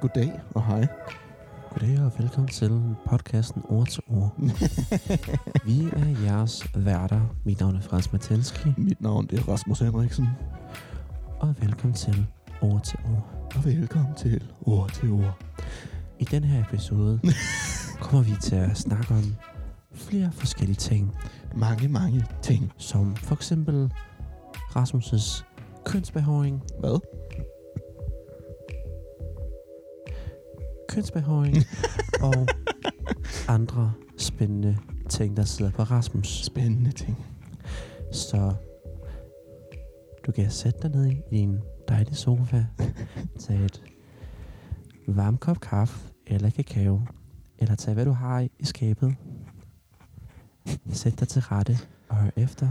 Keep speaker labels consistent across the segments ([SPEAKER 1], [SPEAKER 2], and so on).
[SPEAKER 1] goddag og hej.
[SPEAKER 2] Goddag og velkommen til podcasten Ord til Ord. Vi er jeres værter. Mit navn er Frans Matenski,
[SPEAKER 1] Mit navn det er Rasmus Henriksen,
[SPEAKER 2] og velkommen til Ord til Ord.
[SPEAKER 1] og velkommen til Ord til Ord.
[SPEAKER 2] I den her episode kommer vi til at snakke om flere forskellige ting,
[SPEAKER 1] Mange, mange ting.
[SPEAKER 2] som for eksempel Rasmus' kønsbehåring,
[SPEAKER 1] Hvad?
[SPEAKER 2] kønsbehåring og andre spændende ting, der sidder på Rasmus.
[SPEAKER 1] Spændende ting.
[SPEAKER 2] Så du kan sætte dig ned i din dejlige sofa, tage et varm kop kaffe eller kakao, eller tage hvad du har i i skabet. Sæt dig til rette og hør efter.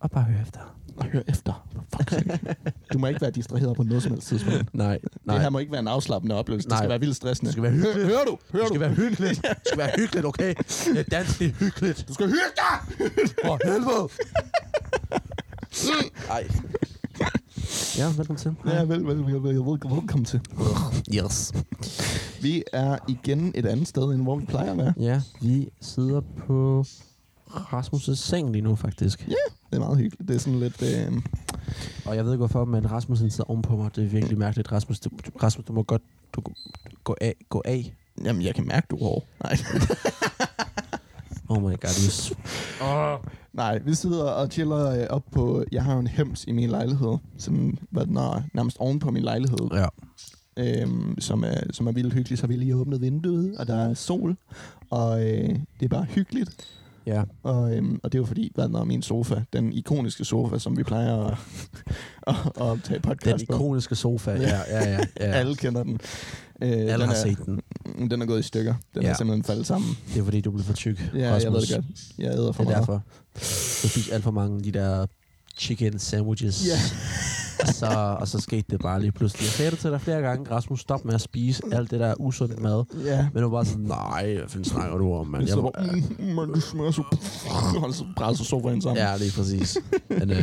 [SPEAKER 2] Og bare hør efter.
[SPEAKER 1] Og hør efter. For fuck's sake. Du må ikke være distraheret på noget som helst tidspunkt.
[SPEAKER 2] Nej,
[SPEAKER 1] Det her må ikke være en afslappende oplevelse. Det
[SPEAKER 2] Nej.
[SPEAKER 1] skal være vildt stressende.
[SPEAKER 2] Det skal være hyggeligt.
[SPEAKER 1] Hører, hører du? Hører
[SPEAKER 2] Det
[SPEAKER 1] du?
[SPEAKER 2] skal være hyggeligt. Det skal være hyggeligt, okay? Det er dansk, det er hyggeligt.
[SPEAKER 1] Du skal høre dig!
[SPEAKER 2] For helvede! Ej. Ja, velkommen til.
[SPEAKER 1] Ja, vel, vel, vel, vel, vel, velkommen til.
[SPEAKER 2] Yes.
[SPEAKER 1] Vi er igen et andet sted, end hvor vi plejer at være.
[SPEAKER 2] Ja, vi sidder på Rasmus' seng lige nu, faktisk.
[SPEAKER 1] Ja. Det er meget hyggeligt. Det er sådan lidt... Øh...
[SPEAKER 2] Og jeg ved ikke hvorfor, men Rasmus han sidder ovenpå mig. Det er virkelig mærkeligt. Rasmus, du, du- Rasmus, du må godt du, gå, af, gå af.
[SPEAKER 1] Jamen, jeg kan mærke, du er hård. Nej.
[SPEAKER 2] Oh my god, du er s-
[SPEAKER 1] Nej, vi sidder og chiller øh, op på... Jeg har jo en hems i min lejlighed, som var den er, nærmest oven på min lejlighed,
[SPEAKER 2] Ja.
[SPEAKER 1] øhm, som, er, som er vildt hyggelig. Så har vi lige åbnet vinduet, og der er sol, og øh, det er bare hyggeligt.
[SPEAKER 2] Ja,
[SPEAKER 1] Og, øhm, og det er jo fordi, hvad den er, min sofa, den ikoniske sofa, som vi plejer at, at, at tage
[SPEAKER 2] den
[SPEAKER 1] podcast på.
[SPEAKER 2] ikoniske sofa. Ja, ja, ja. ja.
[SPEAKER 1] Alle kender den. Øh,
[SPEAKER 2] Alle
[SPEAKER 1] den
[SPEAKER 2] har
[SPEAKER 1] er,
[SPEAKER 2] set den.
[SPEAKER 1] Den er gået i stykker. Den ja.
[SPEAKER 2] Ja.
[SPEAKER 1] er simpelthen faldet sammen.
[SPEAKER 2] Det er fordi, du blev for tyk,
[SPEAKER 1] Ja,
[SPEAKER 2] Rasmus.
[SPEAKER 1] jeg ved det godt. Jeg æder for
[SPEAKER 2] Det er
[SPEAKER 1] meget.
[SPEAKER 2] derfor. Du spiste alt for mange af de der chicken sandwiches.
[SPEAKER 1] Ja.
[SPEAKER 2] og, så, og så skete det bare lige pludselig. Jeg sagde det til dig flere gange, Rasmus, stop med at spise alt det der usunde mad.
[SPEAKER 1] Ja,
[SPEAKER 2] Men du var bare sådan, nej, hvad fanden snakker du om, mand?
[SPEAKER 1] Jeg
[SPEAKER 2] Jeg,
[SPEAKER 1] så bare, mm, man, du smager så... Og så brænder så sofaen sammen.
[SPEAKER 2] ja, lige præcis. Men, uh,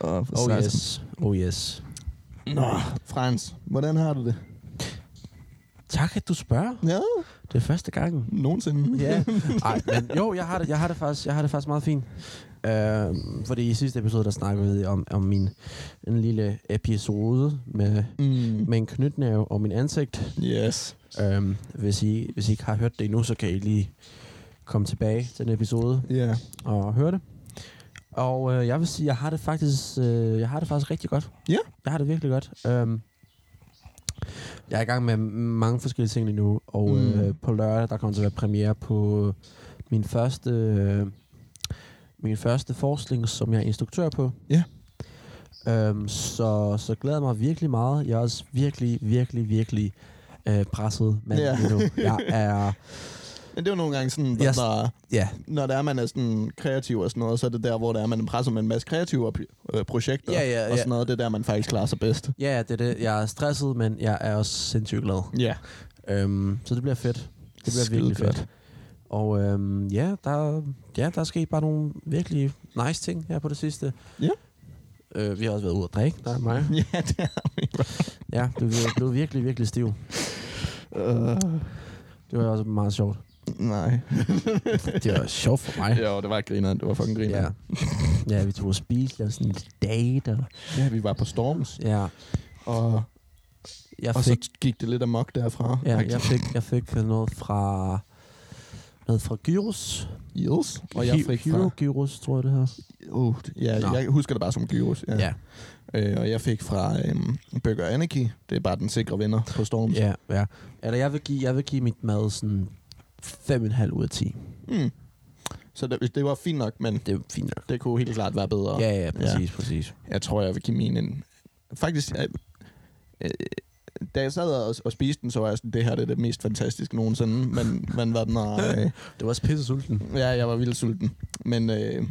[SPEAKER 1] Og
[SPEAKER 2] oh
[SPEAKER 1] så-
[SPEAKER 2] yes, oh yes.
[SPEAKER 1] Nå, Frans, hvordan har du det?
[SPEAKER 2] Tak, at du spørger.
[SPEAKER 1] Ja,
[SPEAKER 2] Det er første gang.
[SPEAKER 1] nogensinde.
[SPEAKER 2] Ja, Ej, men jo, jeg har det, jeg har det, faktisk, jeg har det faktisk meget fint. Øh, fordi i sidste episode, der snakkede vi om, om min en lille episode med,
[SPEAKER 1] Mm.
[SPEAKER 2] med en knytnæve og min ansigt.
[SPEAKER 1] Yes.
[SPEAKER 2] Øhm, hvis, I, hvis I ikke har hørt det endnu, så kan I lige komme tilbage til den episode
[SPEAKER 1] Ja. Yeah.
[SPEAKER 2] og høre det. Og øh, jeg vil sige, jeg har det faktisk, øh, jeg har det faktisk rigtig godt.
[SPEAKER 1] Ja.
[SPEAKER 2] Jeg har det virkelig godt. Øhm, jeg er i gang med mange forskellige ting lige nu, og
[SPEAKER 1] Mm.
[SPEAKER 2] mm. øh, på lørdag der kommer til at være premiere på min første øh, min første forskning, som jeg er instruktør på.
[SPEAKER 1] Ja.
[SPEAKER 2] Øhm, så, så glæder jeg mig virkelig meget. Jeg er også virkelig, virkelig, virkelig øh, presset mand
[SPEAKER 1] Ja.
[SPEAKER 2] lige nu. Jeg er,
[SPEAKER 1] Men det er jo nogle gange sådan,
[SPEAKER 2] Yes.
[SPEAKER 1] yes. når,
[SPEAKER 2] ja,
[SPEAKER 1] når der er, man er sådan kreativ og sådan noget, så er det der, hvor der er, man er presset med en masse kreative op- øh, projekter
[SPEAKER 2] Ja, ja,
[SPEAKER 1] og
[SPEAKER 2] ja.
[SPEAKER 1] sådan noget. Det er der, man faktisk klarer sig bedst.
[SPEAKER 2] ja, det er det. Jeg er stresset, men jeg er også sindssygt glad.
[SPEAKER 1] Ja.
[SPEAKER 2] Øhm, så det bliver fedt. Det bliver
[SPEAKER 1] Skide
[SPEAKER 2] virkelig fedt.
[SPEAKER 1] godt.
[SPEAKER 2] Og øhm, ja, der, ja, der er sket bare nogle virkelig nice ting her på det sidste.
[SPEAKER 1] Ja.
[SPEAKER 2] Øh, vi har også været ude at drikke, der er mig.
[SPEAKER 1] Ja, det er vi.
[SPEAKER 2] Ja, du blev- blev virkelig, virkelig stiv.
[SPEAKER 1] Uh,
[SPEAKER 2] Det var også meget sjovt.
[SPEAKER 1] nej.
[SPEAKER 2] Det var sjovt for mig.
[SPEAKER 1] Jo, det var grineren. Det var fucking
[SPEAKER 2] Ja.
[SPEAKER 1] grineren.
[SPEAKER 2] ja, vi tog og spiste, lavede sådan en date. Og,
[SPEAKER 1] Ja. ja, vi var på Storms,
[SPEAKER 2] ja,
[SPEAKER 1] og
[SPEAKER 2] jeg
[SPEAKER 1] Og
[SPEAKER 2] fik,
[SPEAKER 1] så gik det lidt amok derfra.
[SPEAKER 2] ja, jeg fik, jeg fik noget fra noget fra Gyros.
[SPEAKER 1] Yes. Og jeg fik
[SPEAKER 2] Hero
[SPEAKER 1] fra...
[SPEAKER 2] Gyros, tror jeg det her.
[SPEAKER 1] Oh, ja,
[SPEAKER 2] Nå.
[SPEAKER 1] jeg husker det bare som gyros. Ja. Øh, og jeg fik fra øhm, Burger Anarchy. Det er bare den sikre venner på Storms.
[SPEAKER 2] Ja, ja. Eller jeg vil give, jeg vil give mit mad sådan 5,5 ud af 10.
[SPEAKER 1] Mm. Så det, det var fint nok, men
[SPEAKER 2] Det er fint nok.
[SPEAKER 1] det kunne helt klart være bedre.
[SPEAKER 2] Ja, ja, præcis, ja. præcis.
[SPEAKER 1] Jeg tror, jeg vil give min en... Faktisk, jeg, øh, da jeg sad og, og spiste den, så var jeg sådan, det her det er det mest fantastiske nogensinde. Men, men var den og, øh,
[SPEAKER 2] Det var også pisse sulten.
[SPEAKER 1] ja, jeg var vildt sulten. Men øh,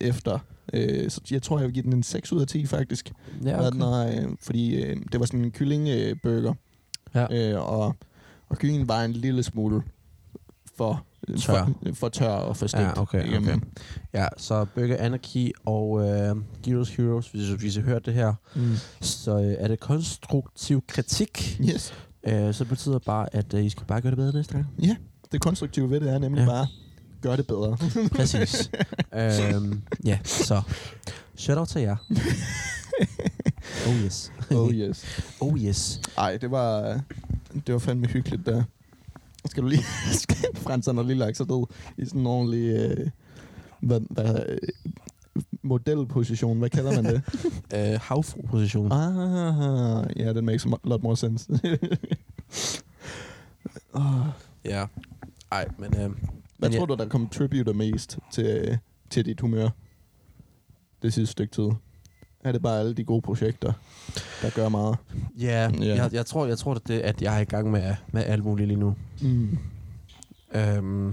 [SPEAKER 1] efter... Øh, så jeg tror, jeg vil give den en 6 ud af 10, faktisk.
[SPEAKER 2] Ja,
[SPEAKER 1] Okay. Den
[SPEAKER 2] okay.
[SPEAKER 1] er, øh, fordi øh, det var sådan en kyllingburger, øh, burger.
[SPEAKER 2] Ja.
[SPEAKER 1] øh, og, og kyllingen var en lille smule for
[SPEAKER 2] Tør.
[SPEAKER 1] for, for tør og for stegt.
[SPEAKER 2] Ja, okay,
[SPEAKER 1] igennem.
[SPEAKER 2] okay. Ja, så Burger Anarchy og øh, Heroes Heroes, hvis, hvis I hørt det her,
[SPEAKER 1] Mm.
[SPEAKER 2] så øh, er det konstruktiv kritik.
[SPEAKER 1] Yes.
[SPEAKER 2] Øh, så betyder det bare, at øh, I skal bare gøre det bedre næste gang.
[SPEAKER 1] Ja, det konstruktive ved det er nemlig
[SPEAKER 2] Ja.
[SPEAKER 1] ja. bare, gør det bedre.
[SPEAKER 2] Præcis. øhm, ja, så. Shout out til jer. Oh yes.
[SPEAKER 1] Oh yes.
[SPEAKER 2] Oh yes.
[SPEAKER 1] Ej, det var, det var fandme hyggeligt der. Skal du lige... skal- Frans, han har lige lagt sig ned i sådan en ordentlig... Øh, hvad, hvad, øh, modelposition, hvad kalder man det?
[SPEAKER 2] Øh, Havfru-position.
[SPEAKER 1] ah, ja, yeah, that makes a mo- lot more sense. oh,
[SPEAKER 2] Ja. Ej, men... Øh,
[SPEAKER 1] hvad
[SPEAKER 2] Men
[SPEAKER 1] tror
[SPEAKER 2] jeg-
[SPEAKER 1] du, der contributer mest til, til dit humør det sidste stykke tid? Er det bare alle de gode projekter, der gør meget?
[SPEAKER 2] ja,
[SPEAKER 1] Ja.
[SPEAKER 2] jeg, jeg tror, jeg tror at det, at jeg er i gang med, med alt muligt lige nu.
[SPEAKER 1] Mm.
[SPEAKER 2] Øhm,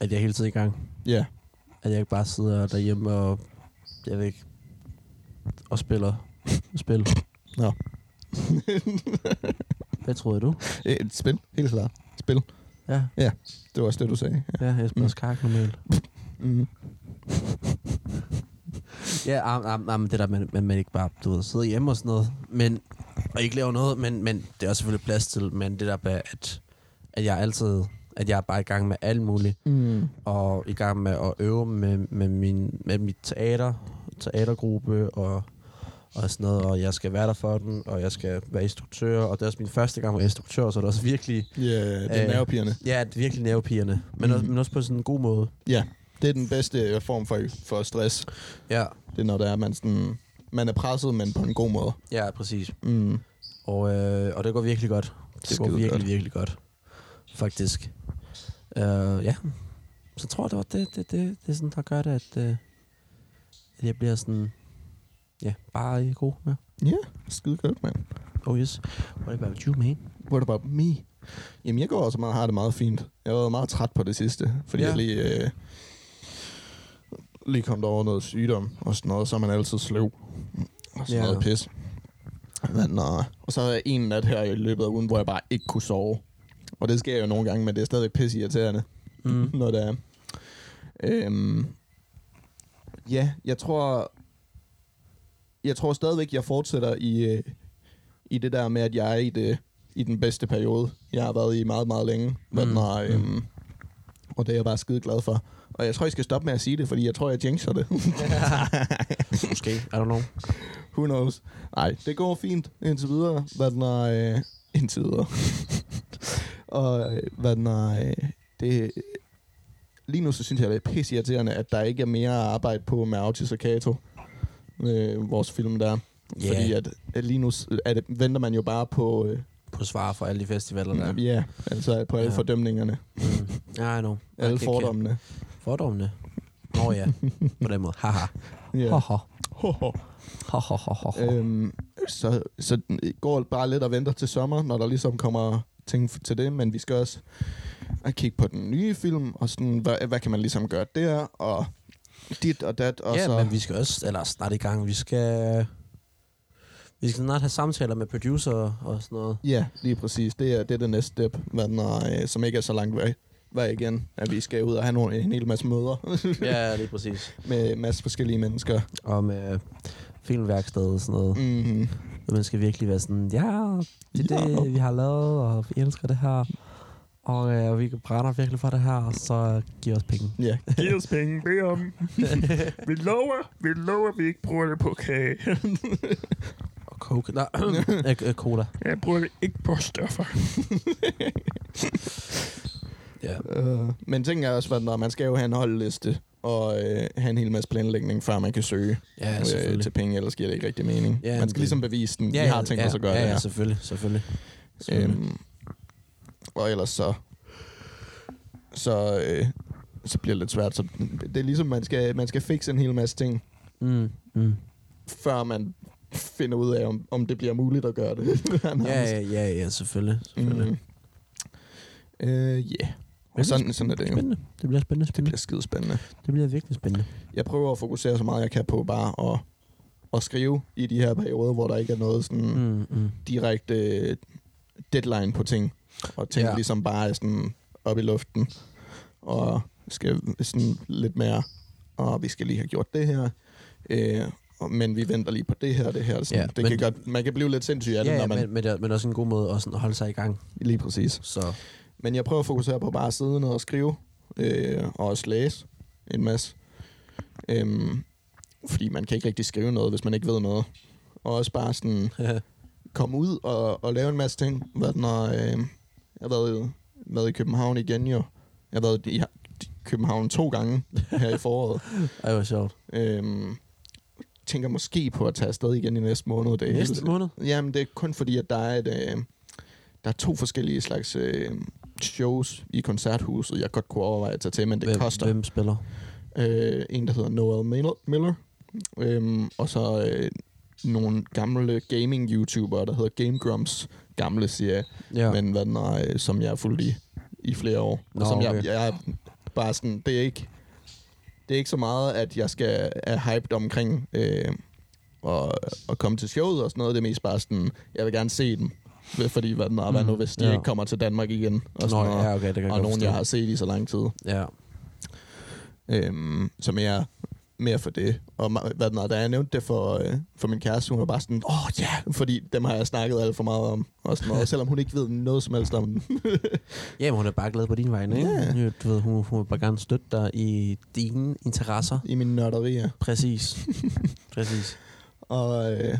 [SPEAKER 2] at jeg er hele tiden i gang.
[SPEAKER 1] Ja,
[SPEAKER 2] At jeg ikke bare sidder derhjemme og, jeg ved ikke, og spiller spil.
[SPEAKER 1] Nå.
[SPEAKER 2] Hvad troede du?
[SPEAKER 1] Øh, et spil, helt klart. Spil.
[SPEAKER 2] Ja,
[SPEAKER 1] Det var også det, du sagde. Ja.
[SPEAKER 2] ja jeg spiller
[SPEAKER 1] Mm.
[SPEAKER 2] mm. skak normalt.
[SPEAKER 1] Mm.
[SPEAKER 2] Ja, am, am, am, det der, man, man, man ikke bare du ved, sidder hjemme og sådan noget, men, og ikke laver noget, men, men det er også selvfølgelig plads til, men det der med, at, at jeg altid, at jeg er bare i gang med alt muligt,
[SPEAKER 1] Mm.
[SPEAKER 2] og i gang med at øve med, med, min, med mit teater, teatergruppe og, og sådan noget, og jeg skal være der for den, og jeg skal være instruktør, og det er også min første gang med instruktør, så det er også virkelig,
[SPEAKER 1] Ja, det er
[SPEAKER 2] Øh.
[SPEAKER 1] nervepirrende.
[SPEAKER 2] ja, det er virkelig nervepirrende, men, mm. også,
[SPEAKER 1] Mhm.
[SPEAKER 2] men også på sådan en god måde.
[SPEAKER 1] Det er den bedste øh, form for, for stress.
[SPEAKER 2] Ja,
[SPEAKER 1] Det er, når der er, man, sådan, man er presset, men på en god måde.
[SPEAKER 2] ja, præcis.
[SPEAKER 1] Mm.
[SPEAKER 2] Og, øh, og det går virkelig godt. Det går
[SPEAKER 1] Skide
[SPEAKER 2] virkelig,
[SPEAKER 1] godt.
[SPEAKER 2] virkelig godt. Faktisk. Uh, ja, så tror jeg, det var det, det, det, det er sådan, der gør det, at, øh, at jeg bliver sådan, ja, bare i god med.
[SPEAKER 1] Skide godt, mand.
[SPEAKER 2] Oh yes. What about you, man?
[SPEAKER 1] What about me? Jamen, jeg går også meget, har det meget fint. Jeg var meget træt på det sidste, fordi
[SPEAKER 2] Ja.
[SPEAKER 1] ja. jeg lige, øh, lige kom over noget sygdom og sådan noget, så er man altid sløv. Og sådan
[SPEAKER 2] Ja.
[SPEAKER 1] ja. noget pis. Men, øh, og så er en nat her i løbet af ugen, hvor jeg bare ikke kunne sove. Og det sker jo nogle gange, men det er stadigvæk pisse irriterende,
[SPEAKER 2] Mm.
[SPEAKER 1] når det er. Øhm, ja, jeg tror, jeg tror stadigvæk, jeg fortsætter i, øh, i det der med, at jeg er i, det, i den bedste periode, jeg har været i meget, meget længe. Mm.
[SPEAKER 2] Mm.
[SPEAKER 1] Når, øhm,
[SPEAKER 2] Mm.
[SPEAKER 1] Og det er jeg bare skide glad for. Og jeg tror, jeg skal stoppe med at sige det, fordi jeg tror, jeg jinxer det.
[SPEAKER 2] Måske. I don't know.
[SPEAKER 1] Who knows? Nej, det går fint indtil videre. Hvad den er, øh, indtil videre. og øh, hvad den er, øh, det, lige nu så synes jeg, det er pisse irriterende, at der ikke er mere at arbejde på med Autis og Kato. Øh, vores film der.
[SPEAKER 2] Ja.
[SPEAKER 1] Yeah. Fordi at, at lige nu s- at, venter man jo bare på, øh,
[SPEAKER 2] På svar for alle de festivaler, der er.
[SPEAKER 1] ja. ja, altså på alle
[SPEAKER 2] Ja.
[SPEAKER 1] ja. fordømningerne,
[SPEAKER 2] Mm. I know.
[SPEAKER 1] alle
[SPEAKER 2] Okay,
[SPEAKER 1] fordommene.
[SPEAKER 2] okay. Fordommene. Nå ja, på den måde. Haha.
[SPEAKER 1] Ja.
[SPEAKER 2] Haha. Haha. Haha.
[SPEAKER 1] Øhm, så, så den går bare lidt og venter til sommer, når der ligesom kommer ting f- til det, men vi skal også at kigge på den nye film, og sådan, hvad, hvad kan man ligesom gøre der, og dit og dat, og
[SPEAKER 2] Ja,
[SPEAKER 1] så...
[SPEAKER 2] men vi skal også, eller snart i gang, vi skal... Vi skal snart have samtaler med producer og sådan noget.
[SPEAKER 1] Ja, lige præcis. Det er det, er det næste step, hvad den er, øh, som ikke er så langt væk, væk igen, at vi skal ud og have nogle, en hel masse møder
[SPEAKER 2] Ja, lige præcis.
[SPEAKER 1] med en masse forskellige mennesker.
[SPEAKER 2] Og med filmværkstedet og sådan noget.
[SPEAKER 1] Mm-hmm.
[SPEAKER 2] Og man skal virkelig være sådan, ja, det er
[SPEAKER 1] Ja.
[SPEAKER 2] det, vi har lavet, og vi elsker det her. Og øh, vi brænder virkelig for det her, og så giv os penge.
[SPEAKER 1] Ja,
[SPEAKER 3] Giv os penge, bed om. vi lover, vi lover, vi ikke bruger det på kage.
[SPEAKER 2] Og coke. Nej, øh, øh, cola.
[SPEAKER 3] Jeg bruger det ikke på stoffer.
[SPEAKER 2] Ja.
[SPEAKER 1] Øh, men ting er også, at man skal jo have en holdliste og øh, have en hel masse planlægning, før man kan søge
[SPEAKER 2] Ja,
[SPEAKER 1] øh,
[SPEAKER 2] selvfølgelig.
[SPEAKER 1] til penge, ellers giver det ikke rigtig mening.
[SPEAKER 2] Ja,
[SPEAKER 1] Ja, man skal
[SPEAKER 2] det-
[SPEAKER 1] ligesom bevise den. Ja, vi har tænkt os at gøre
[SPEAKER 2] ja,
[SPEAKER 1] det
[SPEAKER 2] ja,
[SPEAKER 1] her.
[SPEAKER 2] selvfølgelig, selvfølgelig. selvfølgelig.
[SPEAKER 1] Øhm, og ellers så... Så, øh, så bliver det lidt svært. Så det er ligesom, man skal, man skal fikse en hel masse ting,
[SPEAKER 2] Mm, mm.
[SPEAKER 1] før man finder ud af, om, om det bliver muligt at gøre det.
[SPEAKER 2] Ja, ja, ja, ja, selvfølgelig. selvfølgelig.
[SPEAKER 1] Mm. Øh, yeah. Og sådan, sådan er det jo.
[SPEAKER 2] Spændende. Det bliver spændende,
[SPEAKER 1] Det
[SPEAKER 2] spændende.
[SPEAKER 1] bliver skide spændende.
[SPEAKER 2] Det bliver virkelig spændende.
[SPEAKER 1] jeg prøver at fokusere så meget jeg kan på bare at, at skrive i de her perioder, hvor der ikke er noget sådan mm.
[SPEAKER 2] Mm, mm.
[SPEAKER 1] direkte øh, deadline på ting. Og ting
[SPEAKER 2] Ja.
[SPEAKER 1] ja. ligesom bare er sådan op i luften, og skal sådan lidt mere, og vi skal lige have gjort det her, øh, og- men vi venter lige på det her, det her. Sådan,
[SPEAKER 2] Ja,
[SPEAKER 1] ja, det
[SPEAKER 2] men-
[SPEAKER 1] kan godt, man kan blive lidt sindssyg af
[SPEAKER 2] Ja,
[SPEAKER 1] det,
[SPEAKER 2] ja,
[SPEAKER 1] når man...
[SPEAKER 2] men, men, det er- men også en god måde at sådan holde sig i gang.
[SPEAKER 1] Lige præcis.
[SPEAKER 2] Så
[SPEAKER 1] Men jeg prøver at fokusere på bare at sidde ned og skrive, øh, og også læse en masse. Øhm, fordi man kan ikke rigtig skrive noget, hvis man ikke ved noget. Og også bare sådan komme ud og, og lave en masse ting. Hvad den er, øh, jeg har været, været i København igen jo. Jeg har været i København to gange her i foråret.
[SPEAKER 2] Ej, hvor sjovt.
[SPEAKER 1] øhm, tænker måske på at tage afsted igen i næste måned. Det er
[SPEAKER 2] Næste
[SPEAKER 1] helt-
[SPEAKER 2] måned?
[SPEAKER 1] Jamen, det er kun fordi, at der er, et, øh, der er to forskellige slags øh, shows i koncerthuset, jeg godt kunne overveje at tage til, men det
[SPEAKER 2] hvem,
[SPEAKER 1] hvem, koster. Hvem?
[SPEAKER 2] Hvem spiller?
[SPEAKER 1] Øh, en, der hedder Noel Mil- Miller, øhm, og så øh, nogle gamle gaming-youtubere, der hedder Game Grumps. Gamle, siger jeg,
[SPEAKER 2] Ja.
[SPEAKER 1] ja. men hvad den er, øh, som jeg har fulgt i, i flere år.
[SPEAKER 2] Nå,
[SPEAKER 1] og som
[SPEAKER 2] okay.
[SPEAKER 1] jeg, jeg er bare sådan, det er ikke... Det er ikke så meget, at jeg skal er hyped omkring øh, og, og komme til showet og sådan noget. Det er mest bare sådan, jeg vil gerne se dem. Fordi hvad, den er, hvad nu, hvis de
[SPEAKER 2] Mm, ja.
[SPEAKER 1] ja. ikke kommer til Danmark igen. Og,
[SPEAKER 2] Nå,
[SPEAKER 1] sådan noget,
[SPEAKER 2] ja, okay, det kan jeg
[SPEAKER 1] og
[SPEAKER 2] godt
[SPEAKER 1] nogen,
[SPEAKER 2] forstå.
[SPEAKER 1] jeg har set i så lang tid.
[SPEAKER 2] Ja.
[SPEAKER 1] Øhm, så mere, mere for det. Og ma- hvad den er, da jeg nævnte det for, øh, for min kæreste, hun var bare sådan, åh oh, ja, yeah, fordi dem har jeg snakket alt for meget om. Og sådan noget, selvom hun ikke ved noget som helst om dem.
[SPEAKER 2] Jamen, hun er bare glad på din vegne, ikke?
[SPEAKER 1] Ja.
[SPEAKER 2] Ja, Du ved, hun, hun vil bare gerne støtte dig i dine interesser.
[SPEAKER 1] i mine nørderier.
[SPEAKER 2] Præcis. Præcis.
[SPEAKER 1] Og øh,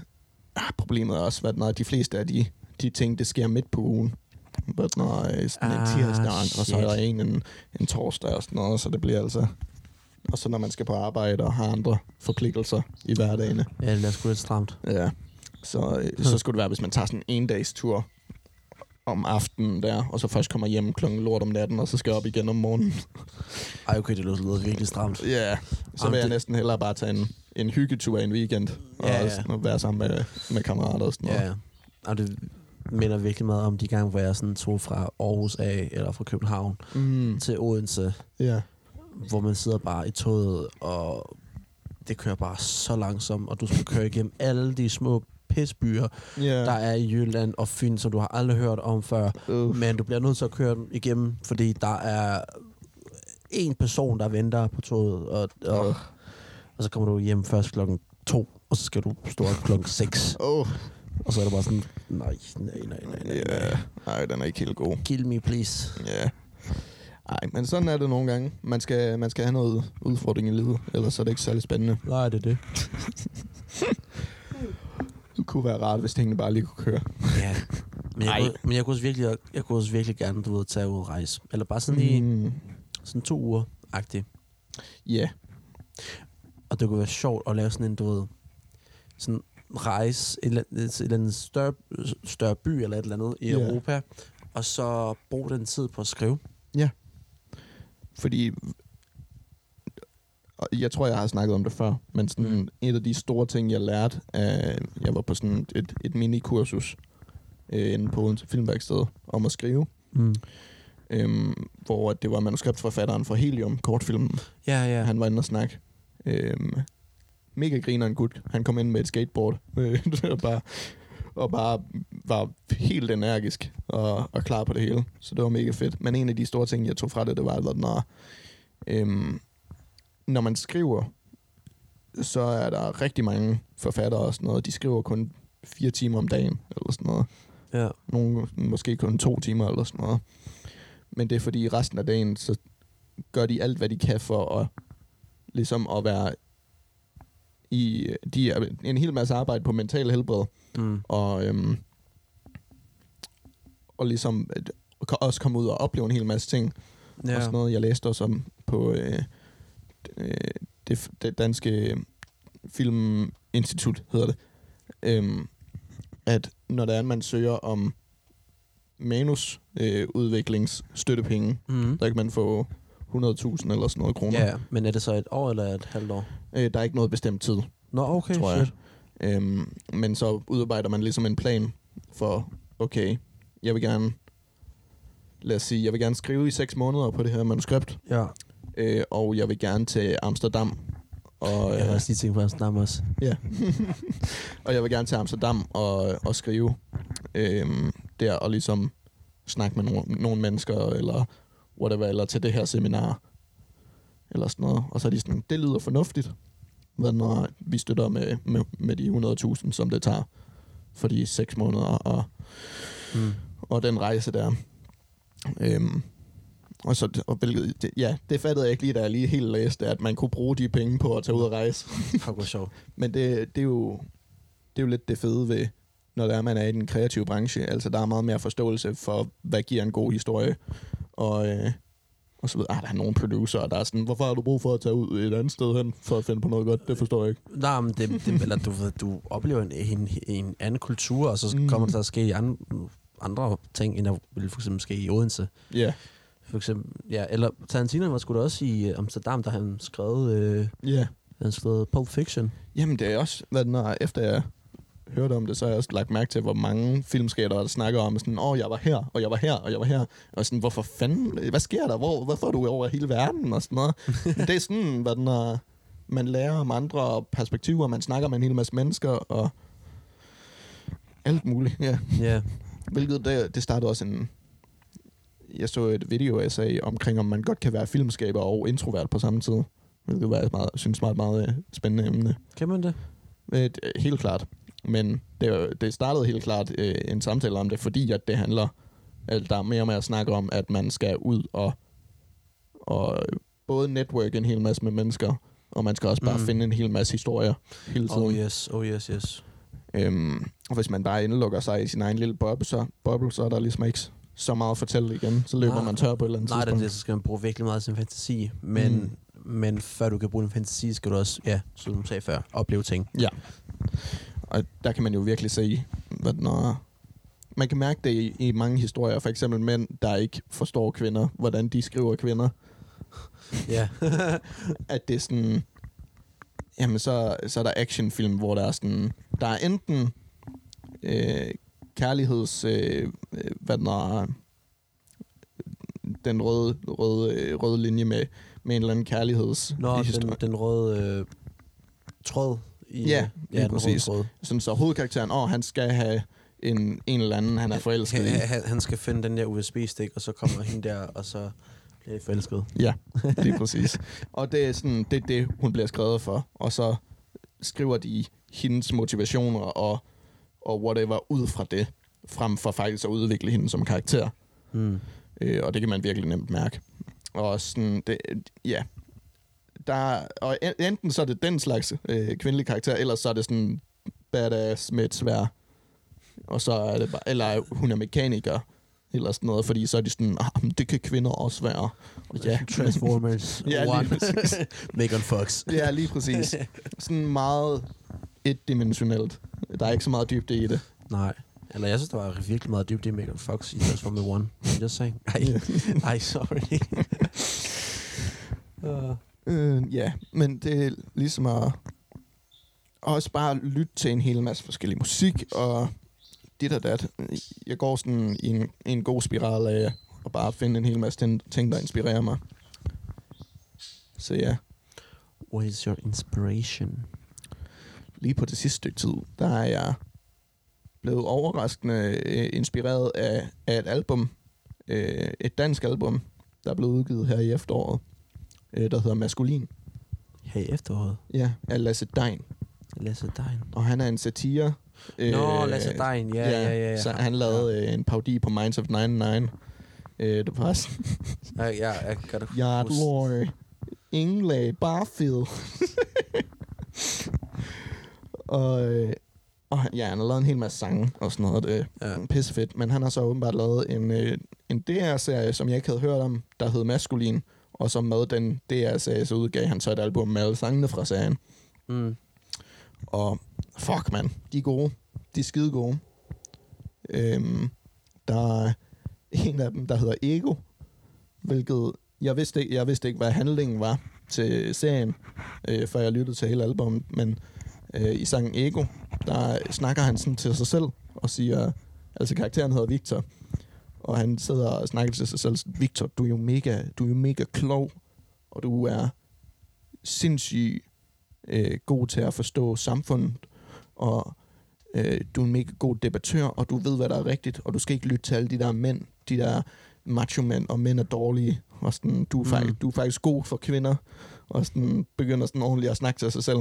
[SPEAKER 1] ah, problemet er også, hvad når de fleste af de, de ting, det sker midt på ugen. Hvad når øh, sådan en
[SPEAKER 2] Ah,
[SPEAKER 1] tirsdag, og så er der
[SPEAKER 2] shit.
[SPEAKER 1] en, en en torsdag og sådan noget, så det bliver altså... Og så når man skal på arbejde og har andre forpligtelser i hverdagen.
[SPEAKER 2] Ja, det er sgu lidt stramt.
[SPEAKER 1] Ja. Så,
[SPEAKER 2] Hm.
[SPEAKER 1] øh, så skulle det være, hvis man tager sådan en dags tur om aftenen der, og så først kommer hjem klokken lort om natten, og så skal op igen om morgenen.
[SPEAKER 2] Ej, okay, det lyder, lyder virkelig stramt.
[SPEAKER 1] Ja, yeah. så
[SPEAKER 2] Jamen,
[SPEAKER 1] vil jeg
[SPEAKER 2] det-
[SPEAKER 1] næsten hellere bare tage en, en hyggetur i en weekend, og
[SPEAKER 2] Ja, ja.
[SPEAKER 1] Sådan, være sammen med, med kammerater og sådan noget.
[SPEAKER 2] Ja, ja. Og det minder virkelig meget om de gange, hvor jeg sådan tog fra Aarhus af, eller fra København
[SPEAKER 1] Mm,
[SPEAKER 2] til Odense,
[SPEAKER 1] ja.
[SPEAKER 2] hvor man sidder bare i toget, og det kører bare så langsomt, og du skal køre igennem alle de små pisbyer,
[SPEAKER 1] Ja.
[SPEAKER 2] der er i Jylland og Fyn, som du har aldrig hørt om før.
[SPEAKER 1] Uh,
[SPEAKER 2] Men du bliver nødt til at køre dem igennem, fordi der er en person, der venter på toget, og, og, og så kommer du hjem først klokken to, og så skal du stå op klokken 6.
[SPEAKER 1] oh.
[SPEAKER 2] Og så er det bare sådan, nej, nej, nej, nej, nej.
[SPEAKER 1] Ja. Ej, den er ikke helt god.
[SPEAKER 2] Kill me, please.
[SPEAKER 1] Ja. Ej, men sådan er det nogle gange. Man skal, man skal have noget udfordring i livet, ellers er det ikke særlig spændende.
[SPEAKER 2] Nej, det er det.
[SPEAKER 1] Det kunne være rart, hvis tingene bare lige kunne køre.
[SPEAKER 2] Ja. Men jeg,
[SPEAKER 1] Ej.
[SPEAKER 2] kunne, men jeg kunne, også virkelig, jeg kunne også virkelig gerne, du ved, tage ud og rejse. Eller bare sådan lige mm.
[SPEAKER 1] Mm,
[SPEAKER 2] sådan to uger agtigt
[SPEAKER 1] Ja.
[SPEAKER 2] Og det kunne være sjovt at lave sådan en, du ved, sådan rejse et eller andet, til et eller andet større, større by eller et eller andet i
[SPEAKER 1] Ja.
[SPEAKER 2] Europa. Og så bruge den tid på at skrive.
[SPEAKER 1] Fordi og jeg tror, jeg har snakket om det før, men sådan
[SPEAKER 2] Mm.
[SPEAKER 1] mm. et af de store ting, jeg lærte, af, jeg var på sådan et, et mini-kursus øh, inde på Odense Filmværksted om at skrive,
[SPEAKER 2] Mm.
[SPEAKER 1] øh, hvor at det var manuskriptforfatteren fra Helium, kortfilmen,
[SPEAKER 2] Ja,
[SPEAKER 1] ja.
[SPEAKER 2] ja.
[SPEAKER 1] han var inde og snakke. Øhm, mega grineren gut. Han kom ind med et skateboard øh, og, bare, og bare var helt energisk og, og klar på det hele. Så det var mega fedt. Men en af de store ting, jeg tog fra det, det var, at når, øhm, når man skriver, så er der rigtig mange forfattere og sådan noget. De skriver kun fire timer om dagen eller sådan noget.
[SPEAKER 2] ja.
[SPEAKER 1] Nogle måske kun to timer eller sådan noget. Men det er fordi resten af dagen, så gør de alt, hvad de kan for at, ligesom at være i, de er en hel masse arbejde på mental helbred,
[SPEAKER 2] Mm.
[SPEAKER 1] og, øhm, og ligesom at, kan også komme ud og opleve en hel masse ting. Ja. Og sådan noget, jeg læste også om på øh, øh, det, det danske filminstitut, hedder det, øhm, at når der er, at man søger om manusudviklingsstøttepenge, øh, udviklingsstøttepenge,
[SPEAKER 2] Mm.
[SPEAKER 1] der kan man få 100.000 eller sådan noget kroner.
[SPEAKER 2] Ja, men er det så et år eller et halvt år?
[SPEAKER 1] Øh, der er ikke noget bestemt tid,
[SPEAKER 2] Nå, okay,
[SPEAKER 1] tror jeg.
[SPEAKER 2] shit.
[SPEAKER 1] Øhm, men så udarbejder man ligesom en plan for, okay, jeg vil gerne, lad os sige, jeg vil gerne skrive i seks måneder på det her manuskript,
[SPEAKER 2] Ja.
[SPEAKER 1] øh, og jeg vil gerne til Amsterdam. Og,
[SPEAKER 2] Jeg har
[SPEAKER 1] øh,
[SPEAKER 2] også lige tænkt på Amsterdam også.
[SPEAKER 1] ja. og jeg vil gerne til Amsterdam og, øhm, og skrive øh, der, og ligesom snakke med nogle, nogle mennesker, eller whatever, eller til det her seminar, eller sådan noget. Og så er de sådan, det lyder fornuftigt, men når vi støtter med, med, med de 100.000, som det tager for de seks måneder, og
[SPEAKER 2] Mm.
[SPEAKER 1] og den rejse der. Øhm, og så, og hvilket, det, ja, det fattede jeg ikke lige, da jeg lige helt læste, at man kunne bruge de penge på at tage ud og rejse.
[SPEAKER 2] Fuck, hvor sjovt.
[SPEAKER 1] Men det, det, er jo, det er jo lidt det fede ved, når der er, man er i den kreative branche. Altså, der er meget mere forståelse for, hvad giver en god historie. Og, øh, og så ved ah, der er nogle producer, der er sådan, hvorfor har du brug for at tage ud et andet sted hen, for at finde på noget godt? Det forstår jeg ikke.
[SPEAKER 2] Nej, men det, det, eller du, ved, du oplever en, en, en anden kultur, og så
[SPEAKER 1] Mm.
[SPEAKER 2] mm. kommer der til at ske andre, andre ting, end der ville for eksempel ske i Odense.
[SPEAKER 1] Ja,
[SPEAKER 2] For eksempel, ja, eller Tarantino var sgu da også i øh, Amsterdam, der han skrev, øh,
[SPEAKER 1] ja.
[SPEAKER 2] han skrev Pulp Fiction.
[SPEAKER 1] Jamen, det er også, hvad når, efter jeg hørte om det, så har jeg også lagt mærke til, hvor mange filmskater, der snakker om, sådan, åh, jeg var her, og jeg var her, og jeg var her, og sådan, hvorfor fanden, hvad sker der, hvor, hvorfor er du over hele verden, og sådan noget. Men det er sådan, hvad når man lærer om andre perspektiver, man snakker med en hel masse mennesker, og alt muligt, ja.
[SPEAKER 2] Ja.
[SPEAKER 1] Hvilket, det, det startede også en, jeg så et video, jeg sagde omkring, om man godt kan være filmskaber og introvert på samme tid. Hvilket var et meget, synes var et meget øh, spændende emne.
[SPEAKER 2] Kan man det?
[SPEAKER 1] Øh, det- Helt klart. Men det, er jo- det startede helt klart øh, en samtale om det, fordi at det handler, at der er mere med at snakke om, at man skal ud og, og både network en hel masse med mennesker, og man skal også bare mm.
[SPEAKER 2] Mm.
[SPEAKER 1] finde en hel masse historier hele tiden.
[SPEAKER 2] Oh yes, oh yes, yes.
[SPEAKER 1] øhm, og hvis man bare indelukker sig i sin egen lille boble, så, boble, så er der ligesom ikke s- så meget at fortælle igen. Så løber
[SPEAKER 2] Nej.
[SPEAKER 1] man tør på et eller andet
[SPEAKER 2] Nej, det er
[SPEAKER 1] tidspunkt.
[SPEAKER 2] det, så skal man bruge virkelig meget af sin fantasi, men, mm. men før du kan bruge din fantasi, skal du også, ja, som du sagde før, opleve ting.
[SPEAKER 1] Og der kan man jo virkelig se, hvad den er. Man kan mærke det i, i mange historier. For eksempel mænd, der ikke forstår kvinder, hvordan de skriver kvinder.
[SPEAKER 2] Ja.
[SPEAKER 1] At det er sådan... Jamen, så, så er der actionfilm, hvor der er sådan... Der er enten øh, kærligheds... Øh, øh, hvad den er, den røde, røde, øh, røde linje med, med en eller anden kærligheds
[SPEAKER 2] Nå, den,
[SPEAKER 1] historie.
[SPEAKER 2] den røde øh, tråd. I,
[SPEAKER 1] Ja, lige
[SPEAKER 2] ja den røde
[SPEAKER 1] præcis.
[SPEAKER 2] tråd.
[SPEAKER 1] Sådan, så hovedkarakteren, åh, han skal have en, en eller anden, han er forelsket i.
[SPEAKER 2] Han, han, han skal finde den der USB-stik, og så kommer hende der, og så bliver I forelsket.
[SPEAKER 1] Ja, lige præcis. og det er sådan, det er det, hun bliver skrevet for. Og så skriver de hendes motivationer og, og whatever ud fra det, frem for faktisk at udvikle hende som karakter.
[SPEAKER 2] Mm.
[SPEAKER 1] Øh, og det kan man virkelig nemt mærke. Og sådan, det, ja. Der, og en- enten så er det den slags øh, kvindelig karakter, eller så er det sådan badass med et svær. Og så er det bare, eller hun er mekaniker, eller sådan noget, fordi så er de sådan, ah, men det kan kvinder også være. Og
[SPEAKER 2] Altså,
[SPEAKER 1] ja,
[SPEAKER 2] Transformers
[SPEAKER 1] Ja, lige
[SPEAKER 2] One.
[SPEAKER 1] præcis.
[SPEAKER 2] Megan Fox.
[SPEAKER 1] Ja, lige præcis. Sådan meget etdimensionelt. Der er ikke så meget dybde i det.
[SPEAKER 2] Nej. Eller jeg synes, der var virkelig meget dybt i Megan Fox i Transformers One. I'm just saying. Ej, ej sorry. uh,
[SPEAKER 1] Øh, ja, men det er ligesom at også bare lytte til en hel masse forskellig musik og dit og dat. Jeg går sådan i en, i en god spiral af at bare finde en hel masse tin- ting, der inspirerer mig. Så ja,
[SPEAKER 2] what is your inspiration?
[SPEAKER 1] lige på det sidste stykke tid, der er jeg blevet overraskende øh, inspireret af, af et album, øh, et dansk album, der er blevet udgivet her i efteråret, øh, der hedder Maskulin,
[SPEAKER 2] Her i efteråret.
[SPEAKER 1] ja, af Lasse Dein.
[SPEAKER 2] Lasse Dein.
[SPEAKER 1] Og han er en satire.
[SPEAKER 2] Nå, Lasse Dein. Ja, ja, ja. ja.
[SPEAKER 1] Øh, Så han lavede øh, en parodi på Minds of 99. Øh, det var sådan,
[SPEAKER 2] Ja, ja, jeg kan da
[SPEAKER 1] Yard
[SPEAKER 2] huske-
[SPEAKER 1] Lore, Inglay, Barfield. og, øh, og han- ja, han har lavet en hel masse sange og sådan noget. Det
[SPEAKER 2] Ja.
[SPEAKER 1] er Mm, pissefedt. Men han har så åbenbart lavet en, øh, en DR-serie, som jeg ikke havde hørt om, der hed Maskulin. Og så med den DR-serie, så udgav han så et album med alle sangene fra serien.
[SPEAKER 2] Mm.
[SPEAKER 1] Og fuck, mand. De er gode. De er skide gode. Øhm, der er en af dem, der hedder Ego, hvilket jeg vidste ikke, jeg vidste ikke hvad handlingen var til serien, øh, før jeg lyttede til hele albumet, men øh, i sangen Ego, der snakker han sådan til sig selv og siger, altså karakteren hedder Victor, og han sidder og snakker til sig selv, sådan, Victor, du er jo mega, du er jo mega klog, og du er sindssygt øh, god til at forstå samfundet, og øh, du er en mega god debattør, og du ved, hvad der er rigtigt, og du skal ikke lytte til alle de der mænd, de der macho-mænd, og mænd er dårlige, og sådan, du, er
[SPEAKER 4] Mm.
[SPEAKER 1] faktisk, du er faktisk god for kvinder, og sådan, begynder sådan ordentligt at snakke til sig selv.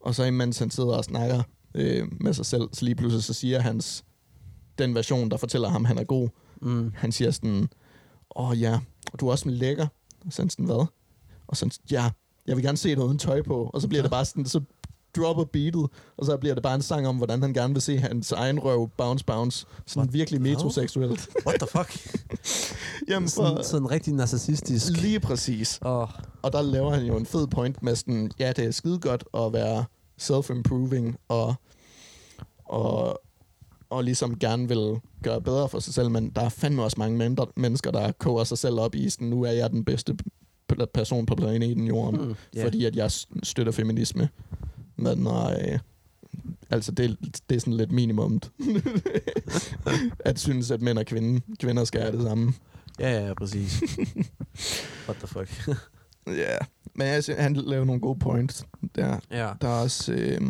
[SPEAKER 1] Og så imens han sidder og snakker øh, med sig selv, så lige pludselig så siger hans, den version, der fortæller ham, han er god,
[SPEAKER 4] Mm.
[SPEAKER 1] han siger sådan, åh ja, og du er også lækker. Og så er han sådan, hvad? Og så er han sådan, ja, jeg vil gerne se noget uden tøj på. Og så bliver det bare sådan, så dropper beatet, og så bliver det bare en sang om, hvordan han gerne vil se hans egen røv bounce bounce. Sådan
[SPEAKER 4] What?
[SPEAKER 1] virkelig metroseksuelt.
[SPEAKER 4] What the fuck?
[SPEAKER 1] Jamen,
[SPEAKER 4] sådan,
[SPEAKER 1] for,
[SPEAKER 4] sådan rigtig narcissistisk.
[SPEAKER 1] lige præcis.
[SPEAKER 4] Og
[SPEAKER 1] Og der laver han jo en fed point med sådan, ja, det er skide godt at være self-improving og, og, og ligesom gerne vil gøre bedre for sig selv, men der er fandme også mange mindre, mennesker, der koger sig selv op i sådan, nu er jeg den bedste p- person på planeten jorden,
[SPEAKER 2] Hmm.
[SPEAKER 1] mm,
[SPEAKER 4] Mm, ja.
[SPEAKER 1] yeah. fordi at jeg s- støtter feminisme. Men nej, altså det, det er sådan lidt minimumt. at synes, at mænd og kvinde, kvinder skal have det samme.
[SPEAKER 2] Ja, ja, ja, præcis. What the fuck?
[SPEAKER 1] Ja, yeah. men jeg synes, han laver nogle gode points der.
[SPEAKER 4] ja.
[SPEAKER 1] Der er også... Øh...